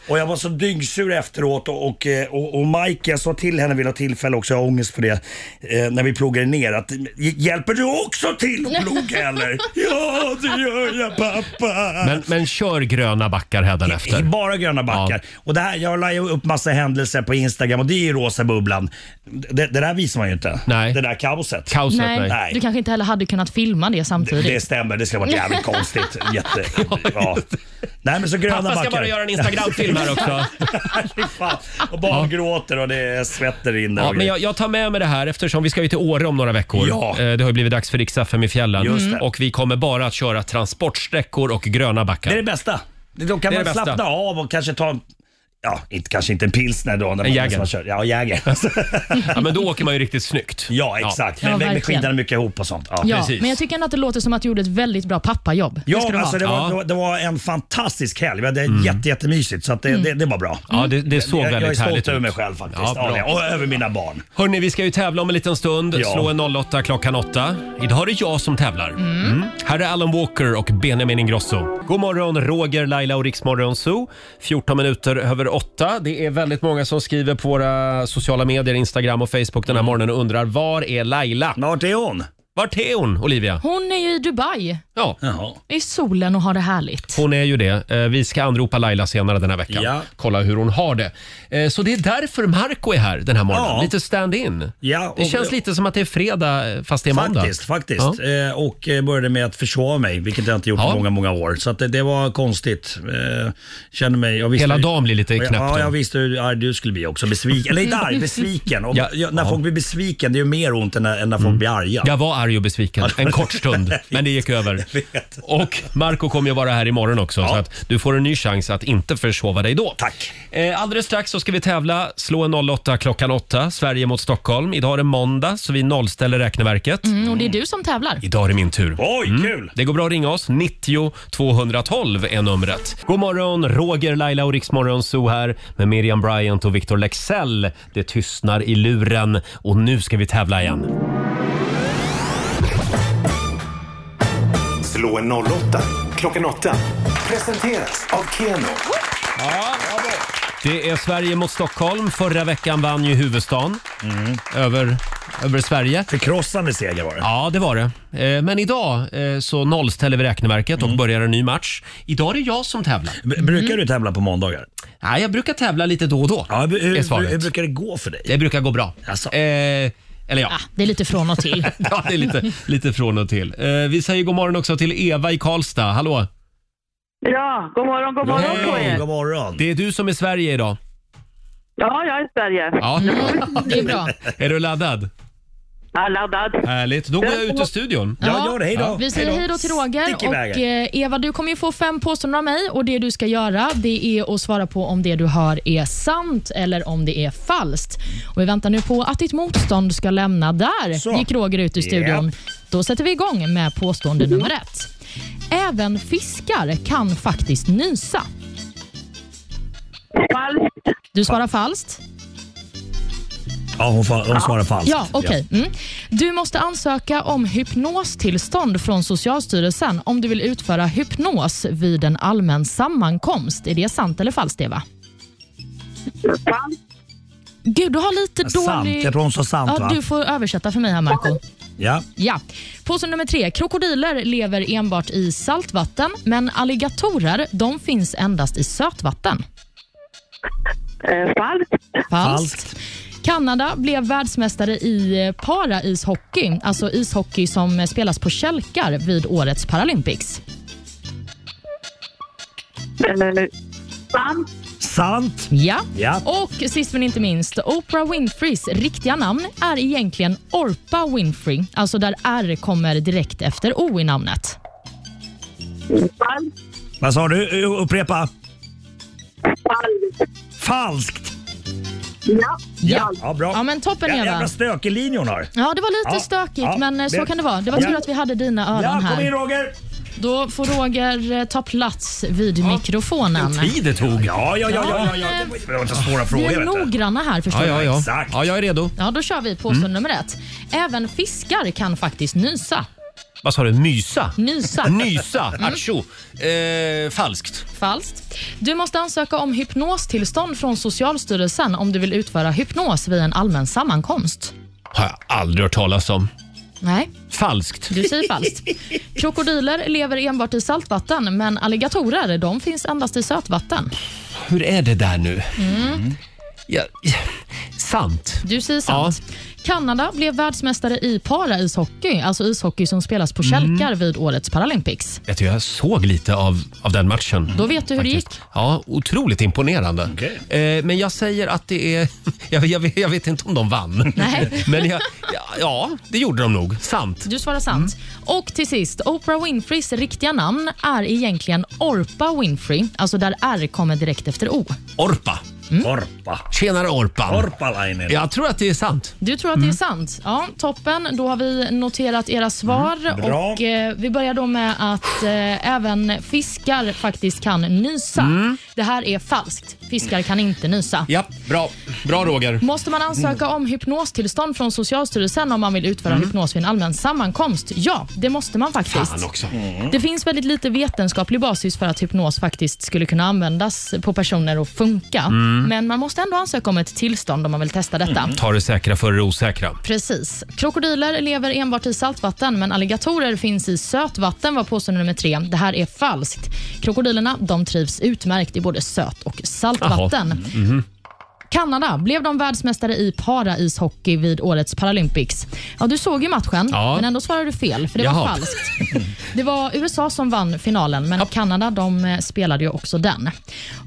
L: Och jag var så dyngsur efteråt och, och, eh, och, och Mike, jag sa till henne vid något tillfälle också, jag har ångest för det, eh, när vi plogade ner att hjälper du också till att ploga eller? ja, det gör jag pappa.
A: Men, men kör gröna backar hädanefter.
L: Bara gröna backar. Och det här, jag la ju upp massa händelser på Instagram och det är ju rosa bubblan. Det, det där visar man ju inte. Nej. Det där kaoset.
A: Kaoset,
B: nej. Du kanske inte heller hade kunnat filma det
L: Det,
B: samtidigt.
L: det stämmer, det ska vara jävligt konstigt. Jätte, ja. Nej, men så gröna
A: Pappa ska
L: backar.
A: bara göra en Instagram-film här också.
L: Fy fan. och barn gråter och det är svetter inne.
A: Ja,
L: och
A: men jag, jag tar med mig det här eftersom vi ska ju till Åre om några veckor.
L: Ja.
A: Eh, Det har ju blivit dags för Riksaffären i fjällen.
L: Just det.
A: Och vi kommer bara att köra transportsträckor och gröna backar.
L: Det är det bästa. Då kan
A: Det är
L: man
A: det bästa.
L: slappna av och kanske ta en Ja, inte, kanske inte en pilsner då. När man,
A: En Jäger.
L: när Man kör. Ja, Jäger.
A: ja, men då åker man ju riktigt snyggt.
L: Ja, exakt.
B: Ja,
L: Men med, med
B: verkligen.
L: skidorna mycket ihop och sånt. Ja,
B: Ja, men jag tycker ändå att det låter som att du gjorde ett väldigt bra pappajobb.
L: Ja,
B: ska
L: det, alltså det, var, det var- det var en fantastisk helg. Vi hade jätte, jättemysigt så att det, det, det var bra.
A: Mm. Ja, det, det såg
L: jag,
A: väldigt
L: jag är stolt
A: härligt
L: över
A: ut.
L: mig själv faktiskt.
A: Ja,
L: Ja,
A: bra.
L: det- och över mina barn.
A: Hörni, vi ska ju tävla om en liten stund.
L: Ja.
A: Slå en 08 klockan 8. Idag är det jag som tävlar. Mm. Här är Alan Walker och Benjamin Ingrosso. God morgon, Roger, Laila och Riksmorgon Zoo. 14 minuter över 8. Det är väldigt många som skriver på våra sociala medier, Instagram och Facebook den här morgonen och undrar var är Laila?
L: Vart är hon?
A: Vart är hon, Olivia?
B: Hon är ju i Dubai,
A: Ja.
B: i solen och har det härligt.
A: Hon är ju det. Eh, Vi ska anropa Laila senare den här veckan. Kolla hur hon har det. Eh, Så det är därför Marco är här den här morgonen.
L: Ja.
A: Lite stand-in.
L: Ja, och-
A: det känns lite som att det är fredag eh, fast det är måndag.
L: Faktiskt, faktiskt.
A: Ja.
L: Eh, och eh, började med att försova mig, vilket jag inte gjort på många, många år. Så att det, det var konstigt. Eh, kände mig, jag visste,
A: Hela dagen blir lite knäpp
L: Ja,
A: då.
L: jag visste hur arg du skulle bli också. Besviken. Eller inte arg, besviken. Och,
A: Ja,
L: ja, när
A: ja. Mm.
L: folk blir besviken, det är ju mer ont än när, än när folk blir arga.
A: Jag var arg och besviken en kort stund, men det gick över. Och Marco kommer ju vara här imorgon också, så att du får en ny chans att inte försova dig då. Tack. Alldeles strax så ska vi tävla. Slå en 08 klockan 8, Sverige mot Stockholm. Idag är det måndag, så vi nollställer räkneverket.
B: Mm, och det är du som tävlar.
A: Idag är det min tur. Oj, kul! Det går bra att ringa oss. 90 212 är numret. God morgon, Roger, Laila och Riksmorgon Zoo här med Miriam Bryant och Victor Lexell. Det tystnar i luren och nu ska vi tävla igen.
F: Slå en 08 klockan 8. Presenteras av Keno.
A: Det är Sverige mot Stockholm. Förra veckan vann ju huvudstaden
L: Mm.
A: över, över Sverige.
L: Förkrossande seger var det.
A: Ja, det var det. Eh, Men idag eh, så nollställer vi räkneverket
L: Mm.
A: och börjar en ny match. Idag är det jag som tävlar.
L: brukar du tävla på måndagar?
A: Nej, jag brukar tävla lite då och då.
L: Ja, hur,
A: är
L: hur,
A: svaret.
L: hur brukar det gå för dig?
A: Det brukar gå bra. Eh, eller ja.
B: Det är lite från och till.
A: ja, det är lite, lite från och till. Eh, vi säger god morgon också till Eva i Karlstad. Hallå!
N: Ja, god morgon, god morgon på er.
L: morgon!
A: Det är du som är Sverige idag.
N: Ja, jag är i Sverige.
A: Ja.
N: det är bra.
A: Är du laddad?
N: Ja, laddad.
A: Härligt. Då går jag ut ur studion.
B: Vi säger hej då till Roger.
A: Stick
B: Och
A: iväg.
B: eh, Eva, du kommer ju få fem påståenden av mig och det du ska göra det är att svara på om det du hör är sant eller om det är falskt. Och vi väntar nu på att ditt motstånd ska lämna. Där
O: Så.
B: gick Roger ut ur studion.
O: Japp.
B: Då sätter vi igång med påstående nummer ett. Även fiskar kan faktiskt nysa. Falskt. Du svarar falskt.
L: Ja, hon, fa- hon svarar falskt.
B: Ja, okej. Mm. Du måste ansöka om hypnostillstånd från Socialstyrelsen om du vill utföra hypnos vid en allmän sammankomst. Är det sant eller falskt, Eva? Gud, du har lite
L: Sant.
B: dålig...
L: Jag tror hon sa sant,
B: ja,
L: va?
B: Du får översätta för mig här, Marco.
L: Ja.
B: Ja. Påse nummer tre. Krokodiler lever enbart i saltvatten, men alligatorer de finns endast i sötvatten.
N: Eh,
B: falskt.
O: Falskt.
B: Kanada blev världsmästare i eh, paraishockey, alltså ishockey som eh, spelas på kälkar vid årets Paralympics.
N: Eh, Sant.
L: Sant.
B: Ja.
L: Ja.
B: Och sist men inte minst, Oprah Winfreys riktiga namn är egentligen Orpa Winfrey, alltså där R kommer direkt efter O i namnet.
L: Vad sa du? U- Upprepa. Falskt. Falskt.
B: Ja.
L: Ja, bra.
B: Ja, men toppen,
L: Ja,
B: Eva.
L: Jävla stökig linje hon har.
B: Ja, det var lite
L: Ja,
B: stökigt,
L: ja,
B: men eh, så
L: det-
B: kan det vara. Det var
L: Ja.
B: tur att vi hade dina öron
L: Ja, kom
B: här.
L: in, Roger!
B: Då får Roger eh, ta plats vid mikrofonen.
A: det tog.
L: Ja, ja, ja. ja, ja, ja,
B: Ja,
L: Det
B: men-
L: var- Det var inte svåra
B: Vi
L: frågor.
B: är
L: vet du.
B: noggranna här förstår
A: Ja, ja, ja.
L: Exakt.
A: ja, jag är redo.
B: Ja, då kör vi påstående nummer ett. Även fiskar kan faktiskt nysa.
A: Vad sa du? Mysa?
B: Nysa.
A: Nysa.
B: Mm.
A: Atsjo. Eh, falskt.
B: Falskt. Du måste ansöka om hypnostillstånd från Socialstyrelsen om du vill utföra hypnos vid en allmän sammankomst.
A: Har jag aldrig hört talas om.
B: Nej,
A: Falskt.
B: du säger falskt. Krokodiler lever enbart i saltvatten, men alligatorer de finns endast i sötvatten.
A: Hur är det där nu?
B: Mm.
A: Ja, sant.
B: Du säger sant. Kanada blev världsmästare i paraishockey, alltså ishockey som spelas på kälkar vid årets Paralympics.
A: Vet du, jag såg lite av, av den matchen.
B: Då vet du hur det gick.
A: Ja, otroligt imponerande. Eh, men jag säger att det är... Jag, jag, jag vet inte om de vann.
B: Nej.
A: Men jag, ja, ja, det gjorde de nog. Sant.
B: Du svarar sant.
A: Mm.
B: Och till sist, Oprah Winfreys riktiga namn är egentligen Orpa Winfrey, alltså där R kommer direkt efter O.
A: Orpa.
B: Mm.
L: Orpa.
A: Tjenare Orpan.
L: Orpalainen.
A: Jag tror att det är sant.
B: Du tror att det är sant? Ja, toppen. Då har vi noterat era svar.
A: Mm, bra.
B: Och, eh, vi börjar då med att eh, även fiskar faktiskt kan nysa. Det här är falskt. Fiskar kan inte nysa.
A: Mm. Ja, bra. Bra Roger.
B: Måste man ansöka om hypnostillstånd från Socialstyrelsen om man vill utföra
A: Mm.
B: hypnos vid en allmän sammankomst? Ja, det måste man faktiskt.
A: Fan också.
B: Det finns väldigt lite vetenskaplig basis för att hypnos faktiskt skulle kunna användas på personer och funka.
A: Mm.
B: Men man måste ändå ansöka om ett tillstånd om man vill testa detta.
A: Ta det säkra för det osäkra.
B: Precis. Krokodiler lever enbart i saltvatten, men alligatorer finns i sötvatten var påstående nummer tre. Det här är falskt. Krokodilerna de trivs utmärkt i både söt och saltvatten.
A: Mhm.
B: Kanada, blev de världsmästare i paraishockey vid årets Paralympics? Ja, du såg ju matchen,
A: Ja.
B: men ändå svarade du fel, för det var
A: Jaha.
B: falskt. Det var USA som vann finalen, men Kanada de eh, spelade ju också den.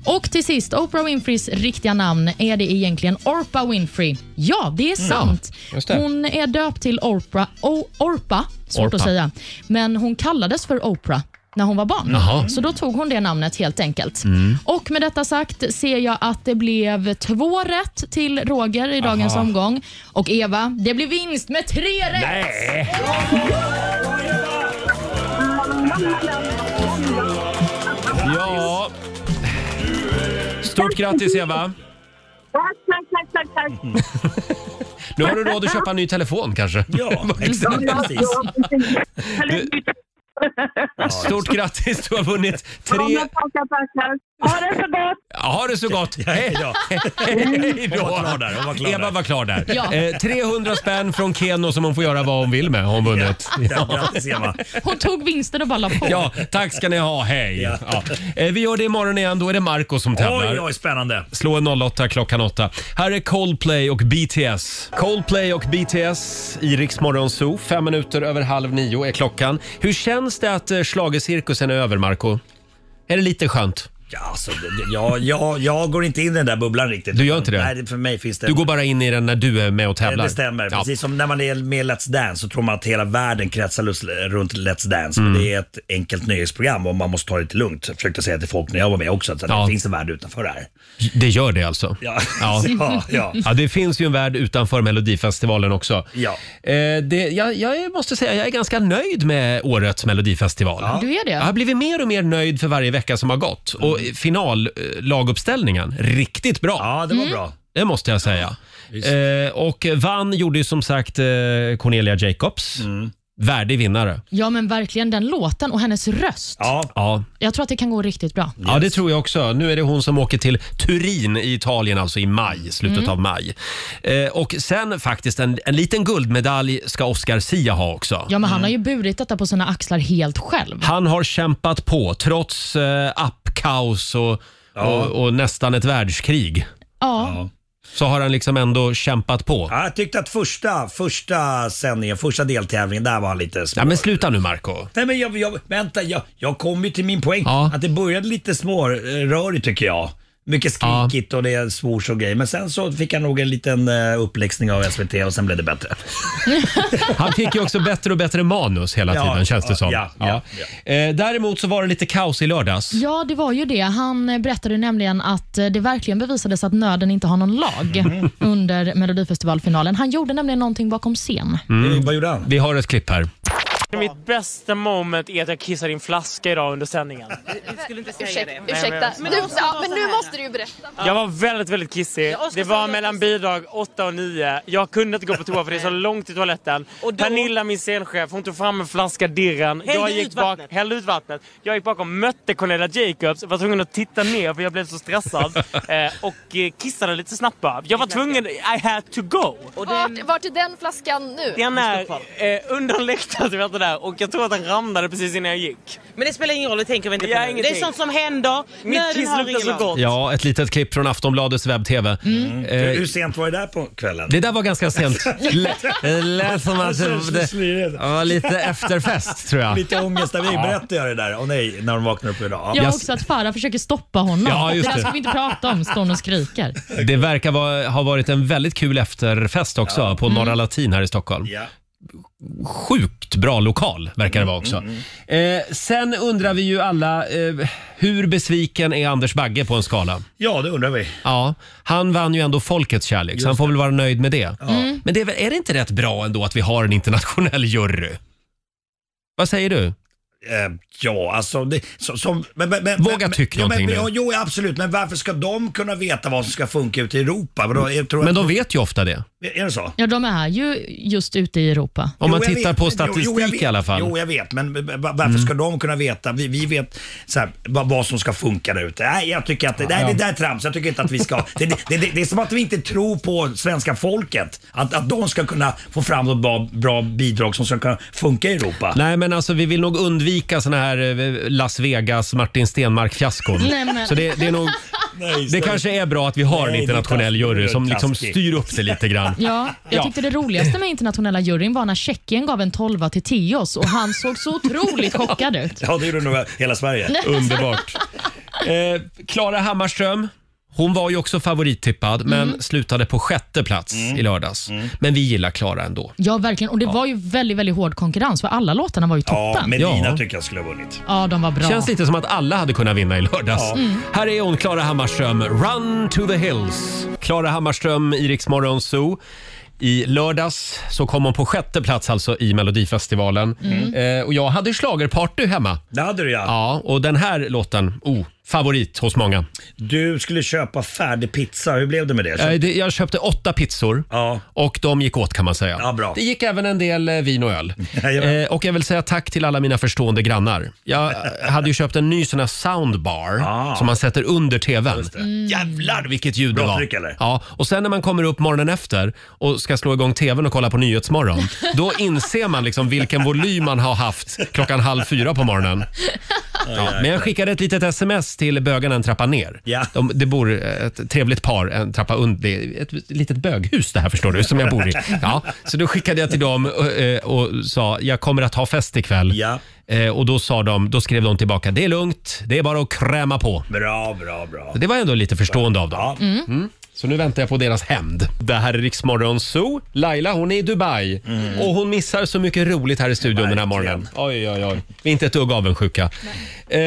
B: Och till sist, Oprah Winfreys riktiga namn, är det egentligen Orpa Winfrey? Ja, det är
O: Mm.
B: sant.
O: Ja, just det.
B: Hon är döpt till Oprah, o- Orpa, svårt
O: Orpa.
B: att säga, men hon kallades för Oprah när hon var barn.
O: Jaha.
B: Så då tog hon det namnet helt enkelt.
O: Mm.
B: Och med detta sagt ser jag att det blev två rätt till Roger i dagens
O: Aha.
B: omgång. Och Eva, det blev vinst med tre rätt!
A: Ja. Stort grattis Eva.
M: Tack, tack, tack, tack, tack.
A: Mm. Nu har du råd att köpa en ny telefon kanske. Ja, Stort grattis, du har vunnit tre...
M: Ja, men tackar, tackar. Ha det så gott!
A: Ja, Ha det så gott! Hej
M: ja.
A: Hej då!
M: Hon var klar där, hon var klar
A: Eva
M: där.
A: var klar där.
M: Ja.
A: Eh, 300 spänn från Keno som hon får göra vad hon vill med har hon vunnit.
B: Ja, grattis, Eva. Hon tog vinsten och bara la på.
A: Ja, tack ska ni ha. Hej! Ja. Eh, Vi gör det imorgon igen. Då är det Marco som tävlar.
L: Oj, oj, spännande.
A: Slå en 08 klockan 8. Här är Coldplay och BTS. Coldplay och BTS i Rix Morgon Zoo. Fem minuter över halv nio är klockan. Hur känns det att eh, schlagercirkusen är över, Marco? Är det lite skönt?
L: Ja, alltså, det- det- jag, jag, jag går inte in i den där bubblan riktigt.
A: Du gör inte det?
L: Nej, det- för mig finns det...
A: Du går bara in i den när du är med och tävlar?
L: Det stämmer.
A: Ja.
L: Precis som när man är med i Let's Dance så tror man att hela världen kretsar lus- runt Let's Dance. Men
A: Mm.
L: det är ett enkelt nöjesprogram och man måste ta det lite lugnt. Jag försökte säga till folk när jag var med också att det finns en värld utanför det här.
A: Det gör det alltså?
L: Ja.
A: Ja.
L: Ja, ja.
A: det finns ju en värld utanför Melodifestivalen också.
L: Ja.
A: Eh, det, jag, jag måste säga jag är ganska nöjd med årets Melodifestival.
B: Ja. Mm. Du är det?
A: Jag har blivit mer och mer nöjd för varje vecka som har gått. Och finallaguppställningen, riktigt bra.
L: Ja, det var Mm. bra.
A: Det måste jag säga. eh, och vann gjorde ju som sagt eh, Cornelia Jacobs.
B: Mm.
A: Värdig vinnare.
B: Ja, men verkligen den låten och hennes röst.
L: Ja.
A: ja.
B: Jag tror att det kan gå riktigt bra.
A: Ja, det tror jag också. Nu är det hon som åker till Turin i Italien, alltså i maj, slutet
B: Mm.
A: av maj. Eh, och sen faktiskt en, en liten guldmedalj ska Oscar Sia ha också.
B: Ja, men han har ju burit detta på sina axlar helt själv.
A: Han har kämpat på trots eh, appkaos och, och, och nästan ett världskrig.
B: Ja.
A: Så har han liksom ändå kämpat på.
L: Ja, jag tyckte att första, första sändningen, första deltävlingen, där var han lite små.
A: Ja, men sluta nu Marco
L: Nej men jag, jag, vänta, jag, jag kom ju till min poäng. Att det började lite smårörigt tycker jag. Mycket skrikigt och det svors och grejer. Men sen så fick han nog en liten eh, uppläxning av SVT och sen blev det bättre.
A: Han fick ju också bättre och bättre manus hela
L: Ja,
A: tiden känns det
L: ja,
A: som.
L: ja,
A: Eh, däremot så var det lite kaos i lördags.
B: Ja, det var ju det. Han eh, berättade nämligen att eh, det verkligen bevisades att nöden inte har någon lag
A: Mm.
B: under Melodifestivalfinalen. Han gjorde nämligen någonting bakom scen.
A: Mm.
L: Eh, Vad gjorde han?
A: Vi har ett klipp här.
G: Mitt bästa moment är att jag kissade i en flaska idag under sändningen.
I: Du skulle inte säga
O: Ursäkta,
I: det.
O: ursäkta.
I: Men,
O: Men
I: du,
O: du-
I: ja, men nu måste du ju berätta.
G: Jag var väldigt, väldigt kissig. Det var mellan bidrag 8 och 9. Jag kunde inte gå på toa för det är så långt till toaletten. Pernilla, min scenchef, hon tog fram en flaska dirran.
N: Hällde
G: Jag
N: ut
G: gick bak,
N: vattnet.
G: hällde ut vattnet. Jag gick bakom, mötte Cornelia Jacobs, var tvungen att titta ner för jag blev så stressad. eh, och eh, kissade lite snabbt bara. Jag var tvungen, I had to go.
I: Vart, vart är den flaskan nu?
G: Den är eh, under läktarens där och jag tror att den ramlade precis innan jag gick.
P: Men det spelar ingen roll, det tänker vi inte på
G: Ja,
P: nu.
G: ingenting.
P: Det är sånt som händer.
G: Mitt
P: Nöden
G: kiss
P: har
G: luktar
P: ingen
G: så
P: lag.
G: gott.
A: Ja, ett litet klipp från Aftonbladets webb-tv. Eh,
L: Hur, hur sent var Mm. det där på kvällen?
A: Det där var ganska sent. Lät, det lät som att
L: Så-
A: det,
L: så
A: det,
L: slirigt.
A: det var lite efterfest tror jag.
L: Lite ångestavi.
A: Ja.
L: Berättade jag det där? Åh nej, när de vaknar upp idag.
B: Jag också att Farah försöker stoppa honom.
A: Ja, just
B: det där
A: det.
B: ska vi inte prata om, står hon och skriker.
A: Det verkar va, ha varit en väldigt kul efterfest också på Norra
L: Mm.
A: Latin här i Stockholm. Sjukt bra lokal verkar det vara
L: Mm,
A: också. Eh, sen undrar vi ju alla, eh, hur besviken är Anders Bagge på en skala?
L: Ja, det undrar vi.
A: Ja, han vann ju ändå folkets kärlek så han får väl vara nöjd med det.
L: Mm.
A: Men det är, väl- är det inte rätt bra ändå att vi har en internationell jury? Vad säger du?
L: Eh, ja, alltså... Det, så, som, men, men, men,
A: Våga
L: men,
A: tycka
L: ja,
A: någonting
L: men,
A: nu.
L: ja, Jo, absolut. Men varför ska de kunna veta vad som ska funka ute i Europa? Vadå, jag tror
A: Men
L: att-
A: de vet ju ofta det.
L: Är det så?
B: Ja, de är ju just ute i Europa.
A: Om man
L: Jo, jag
A: tittar
L: vet.
A: på
L: Jo,
A: statistik
L: jo, jag vet.
A: i alla fall. Mm.
L: Jo, jag vet. Men v- v- varför ska de kunna veta? Vi, vi vet så här, vad, vad som ska funka där ute. Nej, jag tycker att det, nej,
A: Ja.
L: det där är trams. Jag tycker inte att vi ska... det, det, det, det är som att vi inte tror på svenska folket. Att, att de ska kunna få fram något bra, bra bidrag som ska kunna funka i Europa.
A: Nej, men alltså vi vill nog undvika såna här eh, Las Vegas Martin Stenmarck-fiaskon.
B: Nej, men-
A: Så det, det är nog... Det kanske är bra att vi har en
L: Nej, det är
A: internationell
L: taskigt.
A: jury som
L: Det är
A: liksom
L: taskigt.
A: styr upp det lite grann.
B: Ja, jag tyckte det roligaste med internationella juryn var när Tjeckien gav en tolva till Tios och han såg så otroligt chockad ut.
L: Ja, det gjorde nog hela Sverige.
A: Underbart. Eh, Klara Hammarström, hon var ju också favorittippad
B: Mm.
A: men slutade på sjätte plats
L: Mm.
A: i lördags. Men vi gillar Klara ändå.
B: Ja, verkligen. Och det var ju väldigt, väldigt hård konkurrens för alla låtarna var ju toppen.
A: Ja.
L: tycker jag skulle ha vunnit.
B: Ja, de var bra.
A: Känns lite som att alla hade kunnat vinna i lördags.
B: Ja. Mm.
A: Här är hon, Klara Hammarström, Run to the Hills. Klara Hammarström i Rix Morgon Zoo. I lördags så kom hon på sjätte plats alltså i Melodifestivalen.
L: Mm.
A: Eh, och jag hade schlagerparty hemma.
L: Det hade du ja.
A: Ja, och den här låten, oh, favorit hos många.
L: Du skulle köpa färdig pizza. Hur blev det med det?
A: Eh, det- Jag köpte åtta pizzor och de gick åt kan man säga.
L: Ja, bra.
A: Det gick även en del eh, vin och öl.
L: Jajamän.
A: Eh, och jag vill säga tack till alla mina förstående grannar. Jag eh, hade ju köpt en ny sån här soundbar som man sätter under tvn. Jävlar vilket ljud det
L: Ah. Bra
A: var.
L: tryck, eller?
A: Ja, och sen när man kommer upp morgonen efter och ska slå igång tvn och kolla på Nyhetsmorgon, då inser man liksom vilken volym man har haft klockan halv fyra på morgonen. Ja, men jag skickade ett litet sms till bögarna en trappa ner. De, det bor ett trevligt par en trappa under. Det är ett litet böghus det här förstår du, som jag bor i. Ja, så då skickade jag till dem och, eh, och sa jag kommer att ha fest ikväll. Eh, Och då, sa de, då skrev de tillbaka det är lugnt, det är bara att kräma på.
L: Bra, bra, bra.
A: Det var ändå lite förstående av dem.
B: Mm.
A: Mm. Så nu väntar jag på deras hämnd. Det här är Riksmorgon Zoo. Laila hon är i Dubai och hon missar så mycket roligt här i studion den här morgonen. Oj, oj, oj. Vi är inte ett dugg avundsjuka. Eh,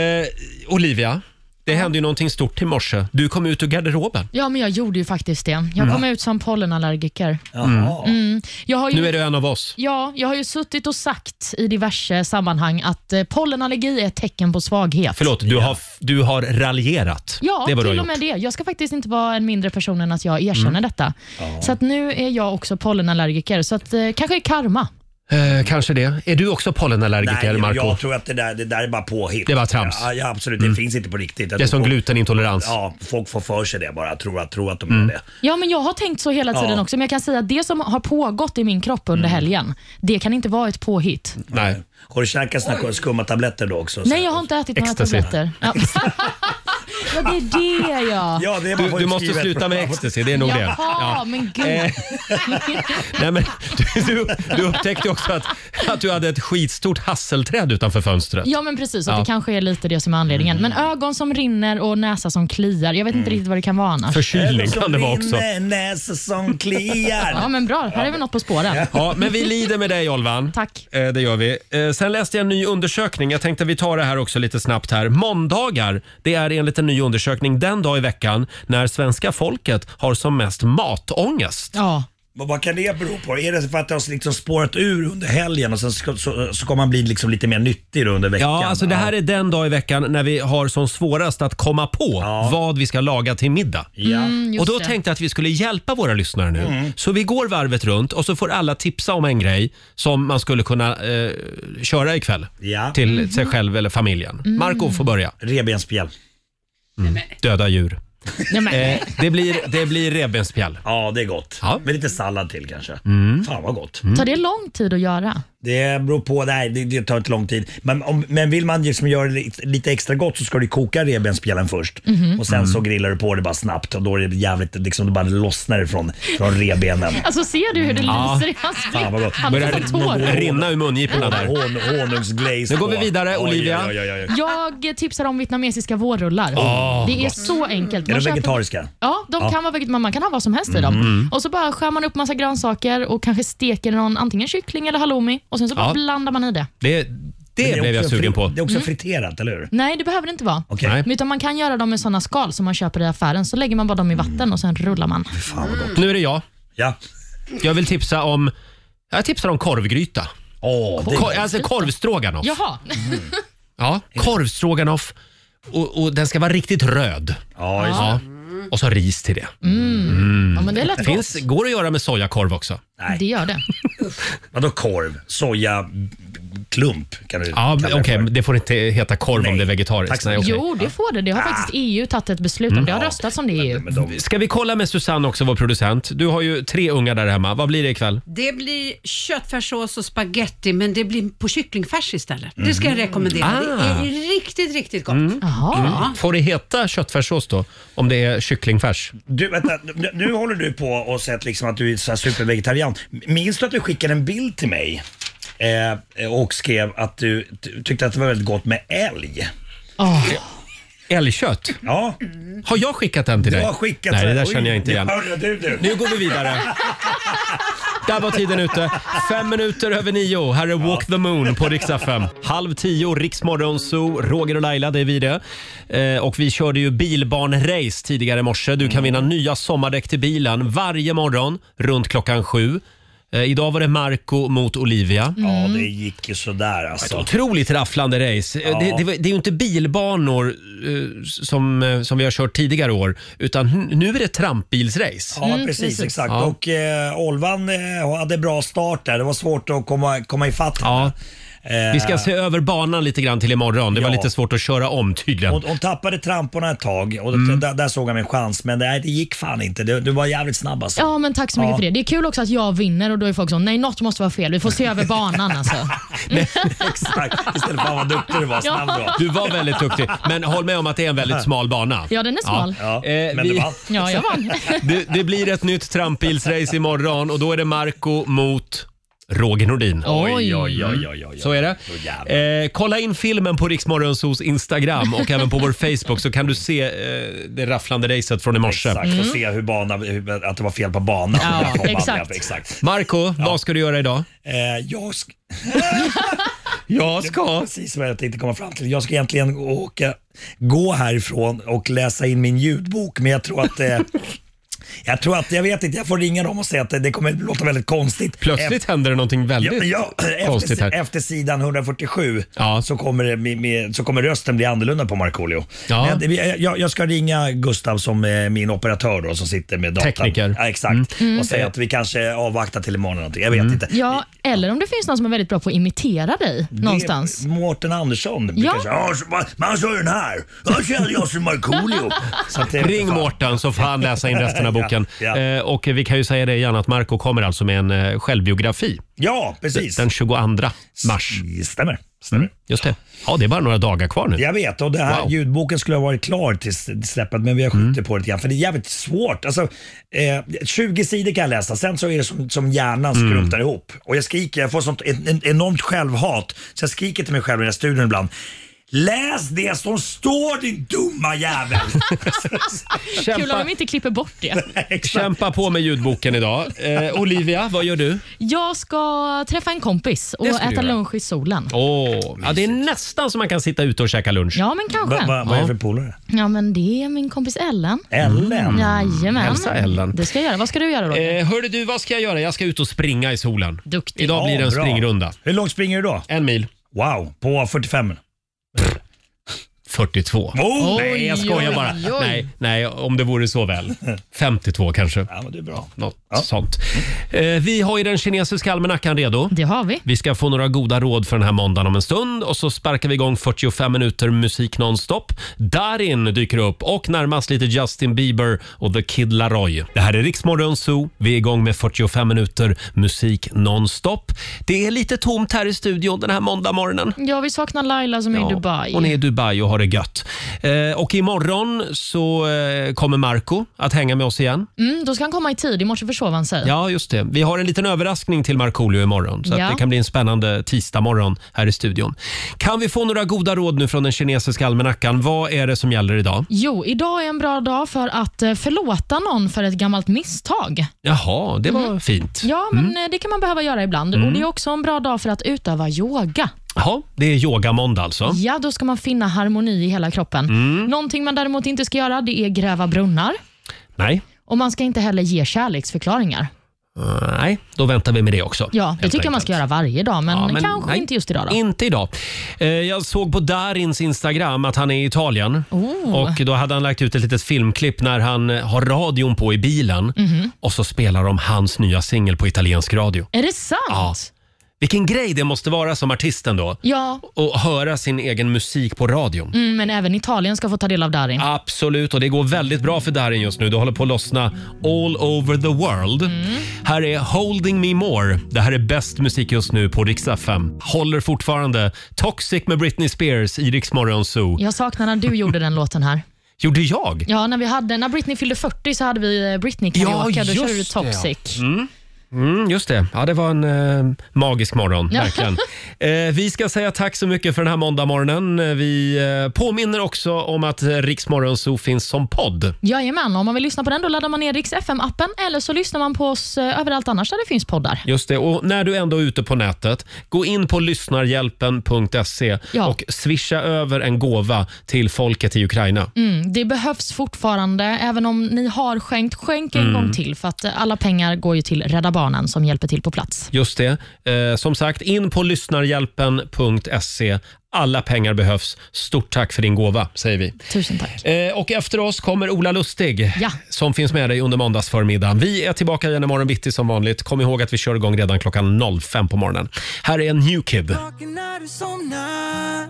A: Olivia, det hände ju någonting stort i morse. Du kom ut ur garderoben.
B: Ja, men jag gjorde ju faktiskt det. Jag
A: Mm.
B: kom ut som pollenallergiker.
A: Jaha.
B: Mm. Jag har ju...
A: Nu är du en av oss.
B: Ja, jag har ju suttit och sagt i diverse sammanhang att eh, pollenallergi är ett tecken på svaghet.
A: Förlåt, du, har, du har raljerat.
B: Ja,
A: det är vad du har
B: till och
A: gjort.
B: med det. Jag ska faktiskt inte vara en mindre person än att jag erkänner
A: Mm.
B: detta. Så att nu är jag också pollenallergiker, så att, eh, kanske är karma.
A: Eh, kanske det. Är du också pollenallergiker,
L: Nej,
A: Marco?
L: jag tror att det där, det där är bara påhitt.
A: Det är bara trams.
L: Ja, ja, absolut.
A: Mm.
L: Det finns inte på riktigt. Jag
A: Det är
L: tror
A: som
L: folk-
A: glutenintolerans.
L: Ja, folk får för sig det bara. Tror att, tror att
A: Mm.
L: de gör det.
B: Ja, men jag har tänkt så hela tiden
L: Ja.
B: också, men jag kan säga att det som har pågått i min kropp
A: Mm.
B: under helgen, det kan inte vara ett påhitt.
A: Nej.
L: Har du käkat såna här skumma tabletter då också?
B: Nej, jag har inte ätit några
L: Ecstasy.
B: tabletter. Ja. ja, det är det ja.
L: Ja, det är bara
A: Du, du måste
L: utskrivet.
A: sluta med ecstasy, det är nog det.
B: Jaha,
A: Ja.
B: men gud.
A: Eh, Nej, men du, du, du upptäckte också att, att du hade ett skitstort hasselträd utanför fönstret.
B: Ja, men precis. Att
A: Ja.
B: Det kanske är lite det som är anledningen. Men ögon som rinner och näsa som kliar. Jag vet inte riktigt vad det kan vara annars.
A: Förkylning kan det vara också.
L: näsa som kliar.
B: Ja, men bra. Här är vi något på spåren.
A: Ja, men vi lider med dig Olvan.
B: Tack.
A: Eh, det gör vi. Eh, sen läste jag en ny undersökning. Jag tänkte vi tar det här också lite snabbt här. Måndagar, det är enligt en ny undersökning den dag i veckan när svenska folket har som mest matångest.
B: Ja.
L: Vad vad kan det bero på? Är det för att det har liksom spårat ur under helgen och sen ska, så, så kommer man bli liksom lite mer nyttig då under veckan?
A: Ja, alltså det här är den dag i veckan när vi har som svårast att komma på vad vi ska laga till middag.
L: Mm, just
A: och då
L: det.
A: tänkte jag att vi skulle hjälpa våra lyssnare nu.
L: Mm.
A: Så vi går varvet runt och så får alla tipsa om en grej som man skulle kunna eh, köra ikväll. Till
L: Mm-hmm.
A: sig själv eller familjen.
B: Mm.
A: Marco får börja.
L: Revbensspjäll.
A: Mm. Döda djur.
B: Nej, men,
A: Eh, det blir, det blir revbensspjäll.
L: Ja, det är gott. Med lite sallad till kanske.
A: Mm.
L: Fan vad gott.
B: Tar det lång tid att göra?
L: Det beror på. Nej, det, det tar inte lång tid. Men, om, men vill man liksom göra det lite, lite extra gott så ska du koka revbensspjällen först.
B: Mhm.
L: Och sen så
A: Mm.
L: grillar du på det bara snabbt och då är det jävligt, liksom, det bara lossnar ifrån från revbenen.
B: Alltså ser du hur det
L: Ja.
B: lyser i hans
L: Fan vad
B: blick?
L: gott.
B: Han är så tår.
A: rinna ur mungiporna där.
L: honungsglaze.
A: Nu går vi
L: på.
A: vidare,
L: Oj,
A: Olivia.
L: oj, oj, oj.
B: Jag tipsar om vietnamesiska vårrullar.
L: Åh,
B: det är
L: gott.
B: så enkelt.
L: Är
B: Man
L: de
B: köper-
L: vegetariska?
B: Ja, de
L: Ja.
B: kan vara veget- men man kan ha vad som helst i dem.
L: Mm.
B: Och så bara skär man upp massa grönsaker och kanske steker någon antingen kyckling eller halloumi och sen så bara
L: Ja.
B: blandar man i det.
A: Det,
L: det
A: blev jag
L: också
A: sugen
L: fri-
A: på.
L: Det är också
B: Mm.
L: friterat, eller hur?
B: Nej, det behöver det inte vara.
L: Okej. Nej.
B: Utan man kan göra dem i såna skal som man köper i affären. Så lägger man bara dem i vatten och sen rullar man.
A: Nu är det jag.
L: Ja.
A: Jag vill tipsa om Jag tipsar om korvgryta.
L: Åh, det-
A: Kor- alltså korvstroganoff.
B: Jaha.
A: Ja, korvstroganoff och, och den ska vara riktigt röd.
L: Ja,
B: just det.
A: Och så ris till det.
B: Mm.
A: Mm.
B: Ja, men det lät
A: Finns,
B: gott.
A: Går att göra med sojakorv också.
B: Det gör det.
L: Vadå korv? Sojaklump kan du
A: Ja, Okej, men det får inte heta korv om det är vegetariskt.
L: Tack så
A: Nej,
L: mycket.
A: okej.
B: Jo, det får det. Det har faktiskt EU tagit ett beslut om.
A: Mm.
B: Det har
A: Ja.
B: röstats om det i E EU.
A: Ska vi kolla med Susanne också, vår producent? Du har ju tre unga där hemma. Vad blir det ikväll?
O: Det blir köttfärssås och spaghetti men det blir på kycklingfärs istället. Det ska jag rekommendera.
A: Ah.
O: Det är riktigt, riktigt gott.
A: Mm. Får det heta köttfärssås då, om det är kycklingfärs?
L: Du, vänta, nu- nu håller du på och sett liksom att du är så här supervegetarian. Minns du att du skickade en bild till mig eh, och skrev att du ty- tyckte att det var väldigt gott med älg?
B: Ah.
A: Älgkött?
L: Ja.
A: Har jag skickat den till
L: Du
A: dig?
L: har skickat
A: Nej, det
L: den.
A: där
L: Oj,
A: känner jag inte igen.
L: hörru, du, du.
A: Nu går vi vidare. Där var tiden ute. Fem minuter över nio. Här är Walk the Moon på riksdag 5. Halv tio, Riksmorgon Zoo. Roger och Laila, det är vi det. Eh, och vi körde ju bilbarnrace tidigare i morse. Du kan vinna nya sommardäck till bilen varje morgon runt klockan sju. Eh, idag var det Marco mot Olivia.
L: Ja, det gick ju sådär alltså.
A: Otroligt rafflande race. Eh,
L: Ja.
A: Det, det, var- det är ju inte bilbanor eh, som, eh, som vi har kört tidigare år, utan n- nu är det trampbilsrace.
L: Ja, precis, exakt.
A: Ja.
L: Och eh, Olvan eh, hade bra start där. Det var svårt att komma, komma ifatt henne. Eh,
A: Vi ska se över banan lite grann till imorgon. Det var
L: Ja.
A: lite svårt att köra om tydligen.
L: Hon, hon tappade tramporna ett tag och
A: Mm.
L: där, där såg han en chans, men nej, det gick fan inte. Du, du var jävligt snabb alltså.
B: Ja, men tack så mycket
L: Ja.
B: för det. Det är kul också att jag vinner och då är folk så, nej något måste vara fel. Vi får se över banan alltså.
L: Exakt, istället för vad duktig du var. Snabb du var.
A: Du var väldigt duktig, men håll med om att det är en väldigt smal bana.
B: Ja, den är smal.
L: Ja,
A: Eh,
L: men
A: vi-
L: du vann.
B: Ja, jag vann.
A: Det, det blir ett nytt trampbilsrace imorgon och då är det Marco mot Roger Nordin.
B: Oj, oj,
L: oj, oj, oj.
A: Så är det. Eh, kolla in filmen på Riksmorgonsos Instagram och även på vår Facebook så kan du se eh, det rafflande racet från i morse.
L: Exakt, och se hur banan, hur, att det var fel på banan.
A: Mm. Ja,
L: Där kom han,
A: exakt.
L: exakt.
A: Marco, vad ska du göra idag?
L: Eh, jag, sk-
A: jag ska...
L: Det var precis vad jag tänkte komma fram till. Jag ska egentligen åka, gå härifrån och läsa in min ljudbok, men jag tror att eh, Jag tror att, jag vet inte, jag får ringa dem och säga att det- det kommer låta väldigt konstigt.
A: Plötsligt händer det någonting väldigt
L: Ja, ja,
A: konstigt här.
L: efter, efter sidan 147 så, kommer det, med, med, så kommer rösten bli annorlunda på Markoolio.
A: Ja.
L: Men det- Jag, jag, jag ska ringa Gustav som är min operatör då, som sitter med datan.
A: Tekniker. Mm.
L: Ja, exakt. Och säga att vi kanske avvaktar till imorgon eller någonting. Jag vet inte.
B: Mm. Ja, eller om det finns någon som är väldigt bra på att imitera dig någonstans.
L: Det är Mårten Andersson.
B: Ja.
L: Kanske, Ja. så- man- Man sa ju den här. Jag känner jag som Markoolio. Så att det-
A: Ring Mårten så får han läsa in resten av boken.
L: Ja,
A: Eh, och vi kan ju säga det igen att Marco kommer alltså med en eh, självbiografi.
L: Ja, precis.
A: Den 22 mars.
L: Stämmer. Stämmer.
A: Just det. Ja, det är bara några dagar kvar nu.
L: Jag vet och den här
A: Wow.
L: ljudboken skulle ha varit klar till s- till släppet men vi har skjutit på det lite grann för det är jävligt svårt. Alltså, eh, 20 sidor kan jag läsa, sen så är det som, som hjärnan
J: Mm.
L: skrumpnar ihop. Och jag skriker, jag får sånt en, en, enormt självhat så jag skriker till mig själv i den här studion ibland. Läs det som står din dumma jävel!
B: Kul om de inte klipper bort det.
A: Kämpa på med ljudboken idag. Eh, Olivia, vad gör du?
B: Jag ska träffa en kompis och
A: Det ska du
B: äta
A: göra.
B: lunch i solen.
A: Åh, ja, det är nästan så man kan sitta ute och käka lunch.
B: Ja, men kanske. Va- va- vad är det för
L: polare?
B: Ja, men det är min kompis Ellen. Mm.
L: Ellen?
B: Jajamän.
A: Mm. Hälsa Ellen.
B: Det ska jag göra. Vad ska du göra då?
A: Eh, hörru du, vad ska jag göra? Jag ska ut och springa i solen.
B: Duktig.
A: Idag blir det en
L: Ja, bra.
A: springrunda.
L: Hur långt springer du då?
A: En mil.
L: Wow, på Oh, 45?
A: 42.
L: Oh,
A: nej, jag
L: oj,
A: skojar
L: oj,
A: bara.
L: oj.
A: Nej, nej, om det vore så väl. 52 kanske.
L: Ja, men det är bra.
A: Något sånt. Eh, vi har ju den kinesiska almanackan redo.
B: Det har vi.
A: Vi ska få några goda råd för den här måndagen om en stund och så sparkar vi igång 45 minuter musik nonstop. Darin dyker upp och närmast lite Justin Bieber och The Kid Laroi. Det här är Riksmorgon Zoo. Vi är igång med 45 minuter musik nonstop. Det är lite tomt här i studion den här måndag morgonen.
B: Ja, vi saknar Laila som är i Dubai.
A: Hon är i Dubai och har det gött. Eh, och imorgon så eh, kommer Marco att hänga med oss igen.
B: Mm, då ska han komma i tid. I morse försov han sig.
A: Ja, just det. Vi har en liten överraskning till Markoolio imorgon. Så
B: Ja.
A: att det kan bli en spännande tisdagmorgon här i studion. Kan vi få några goda råd nu från den kinesiska almanackan? Vad är det som gäller idag?
B: Jo, idag är en bra dag för att eh, förlåta någon för ett gammalt misstag.
A: Jaha, det var
B: Mm.
A: fint.
B: Ja, men eh, det kan man behöva göra ibland.
A: Mm.
B: Och Det är också en bra dag för att utöva yoga.
A: Jaha, det är yogamåndag alltså.
B: Ja, då ska man finna harmoni i hela kroppen.
A: Mm.
B: Någonting man däremot inte ska göra det är gräva brunnar.
A: Nej.
B: Och Man ska inte heller ge kärleksförklaringar.
A: Nej, då väntar vi med det också.
B: Ja, det
A: helt
B: tycker jag man ska göra varje dag, men,
A: Ja, men
B: kanske
A: nej,
B: inte just idag. Då.
A: Inte idag. Eh, Jag såg på Darins Instagram att han är i Italien.
B: Oh.
A: Och Då hade han lagt ut ett litet filmklipp när han eh, har radion på i bilen
B: Mhm.
A: och så spelar de hans nya singel på italiensk radio.
B: Är det sant?
A: Ja. Vilken grej det måste vara som artisten då.
B: Ja.
A: Och höra sin egen musik på radion.
B: Mm, men även Italien ska få ta del av Darin.
A: Absolut, och det går väldigt bra för Darin just nu. Det håller på att lossna all over the world.
B: Mm.
A: Här är Holding Me More. Det här är bäst musik just nu på Rix FM. Håller fortfarande Toxic med Britney Spears i Rix Morgon Zoo.
B: Jag saknar när du gjorde den låten här.
A: Gjorde jag?
B: Ja, när, vi hade, när Britney fyllde 40 så hade vi eh, Britney-karaoke. då körde du Toxic.
A: Det, ja. mm. Mm, just det. Ja, det var en eh, magisk morgon,
B: Ja.
A: verkligen. eh, vi ska säga tack så mycket för den här måndagmorgonen. Eh, Vi eh, påminner också om att eh, Rix Morgon Zoo finns som podd.
B: Jajamän, om man vill lyssna på den då laddar man ner Rix FM-appen eller så lyssnar man på oss eh, överallt annars där det finns poddar.
A: Just det. Och när du ändå är ute på nätet, gå in på lyssnarhjälpen.se
B: Ja.
A: och swisha över en gåva till folket i Ukraina.
B: Mm, det behövs fortfarande, även om ni har skänkt, skänk en
A: Mm.
B: gång till för att eh, alla pengar går ju till Rädda Barnen som hjälper till på plats.
A: Just det. Eh, som sagt, in på lyssnarhjälpen.se. Alla pengar behövs. Stort tack för din gåva, säger vi.
B: Tusen tack.
A: Eh, och efter oss kommer Ola Lustig som finns med dig under måndagsförmiddagen. Vi är tillbaka igen imorgon bitti som vanligt. Kom ihåg att vi kör igång redan klockan 05 på morgonen. Här är en new kid.
D: När du somnar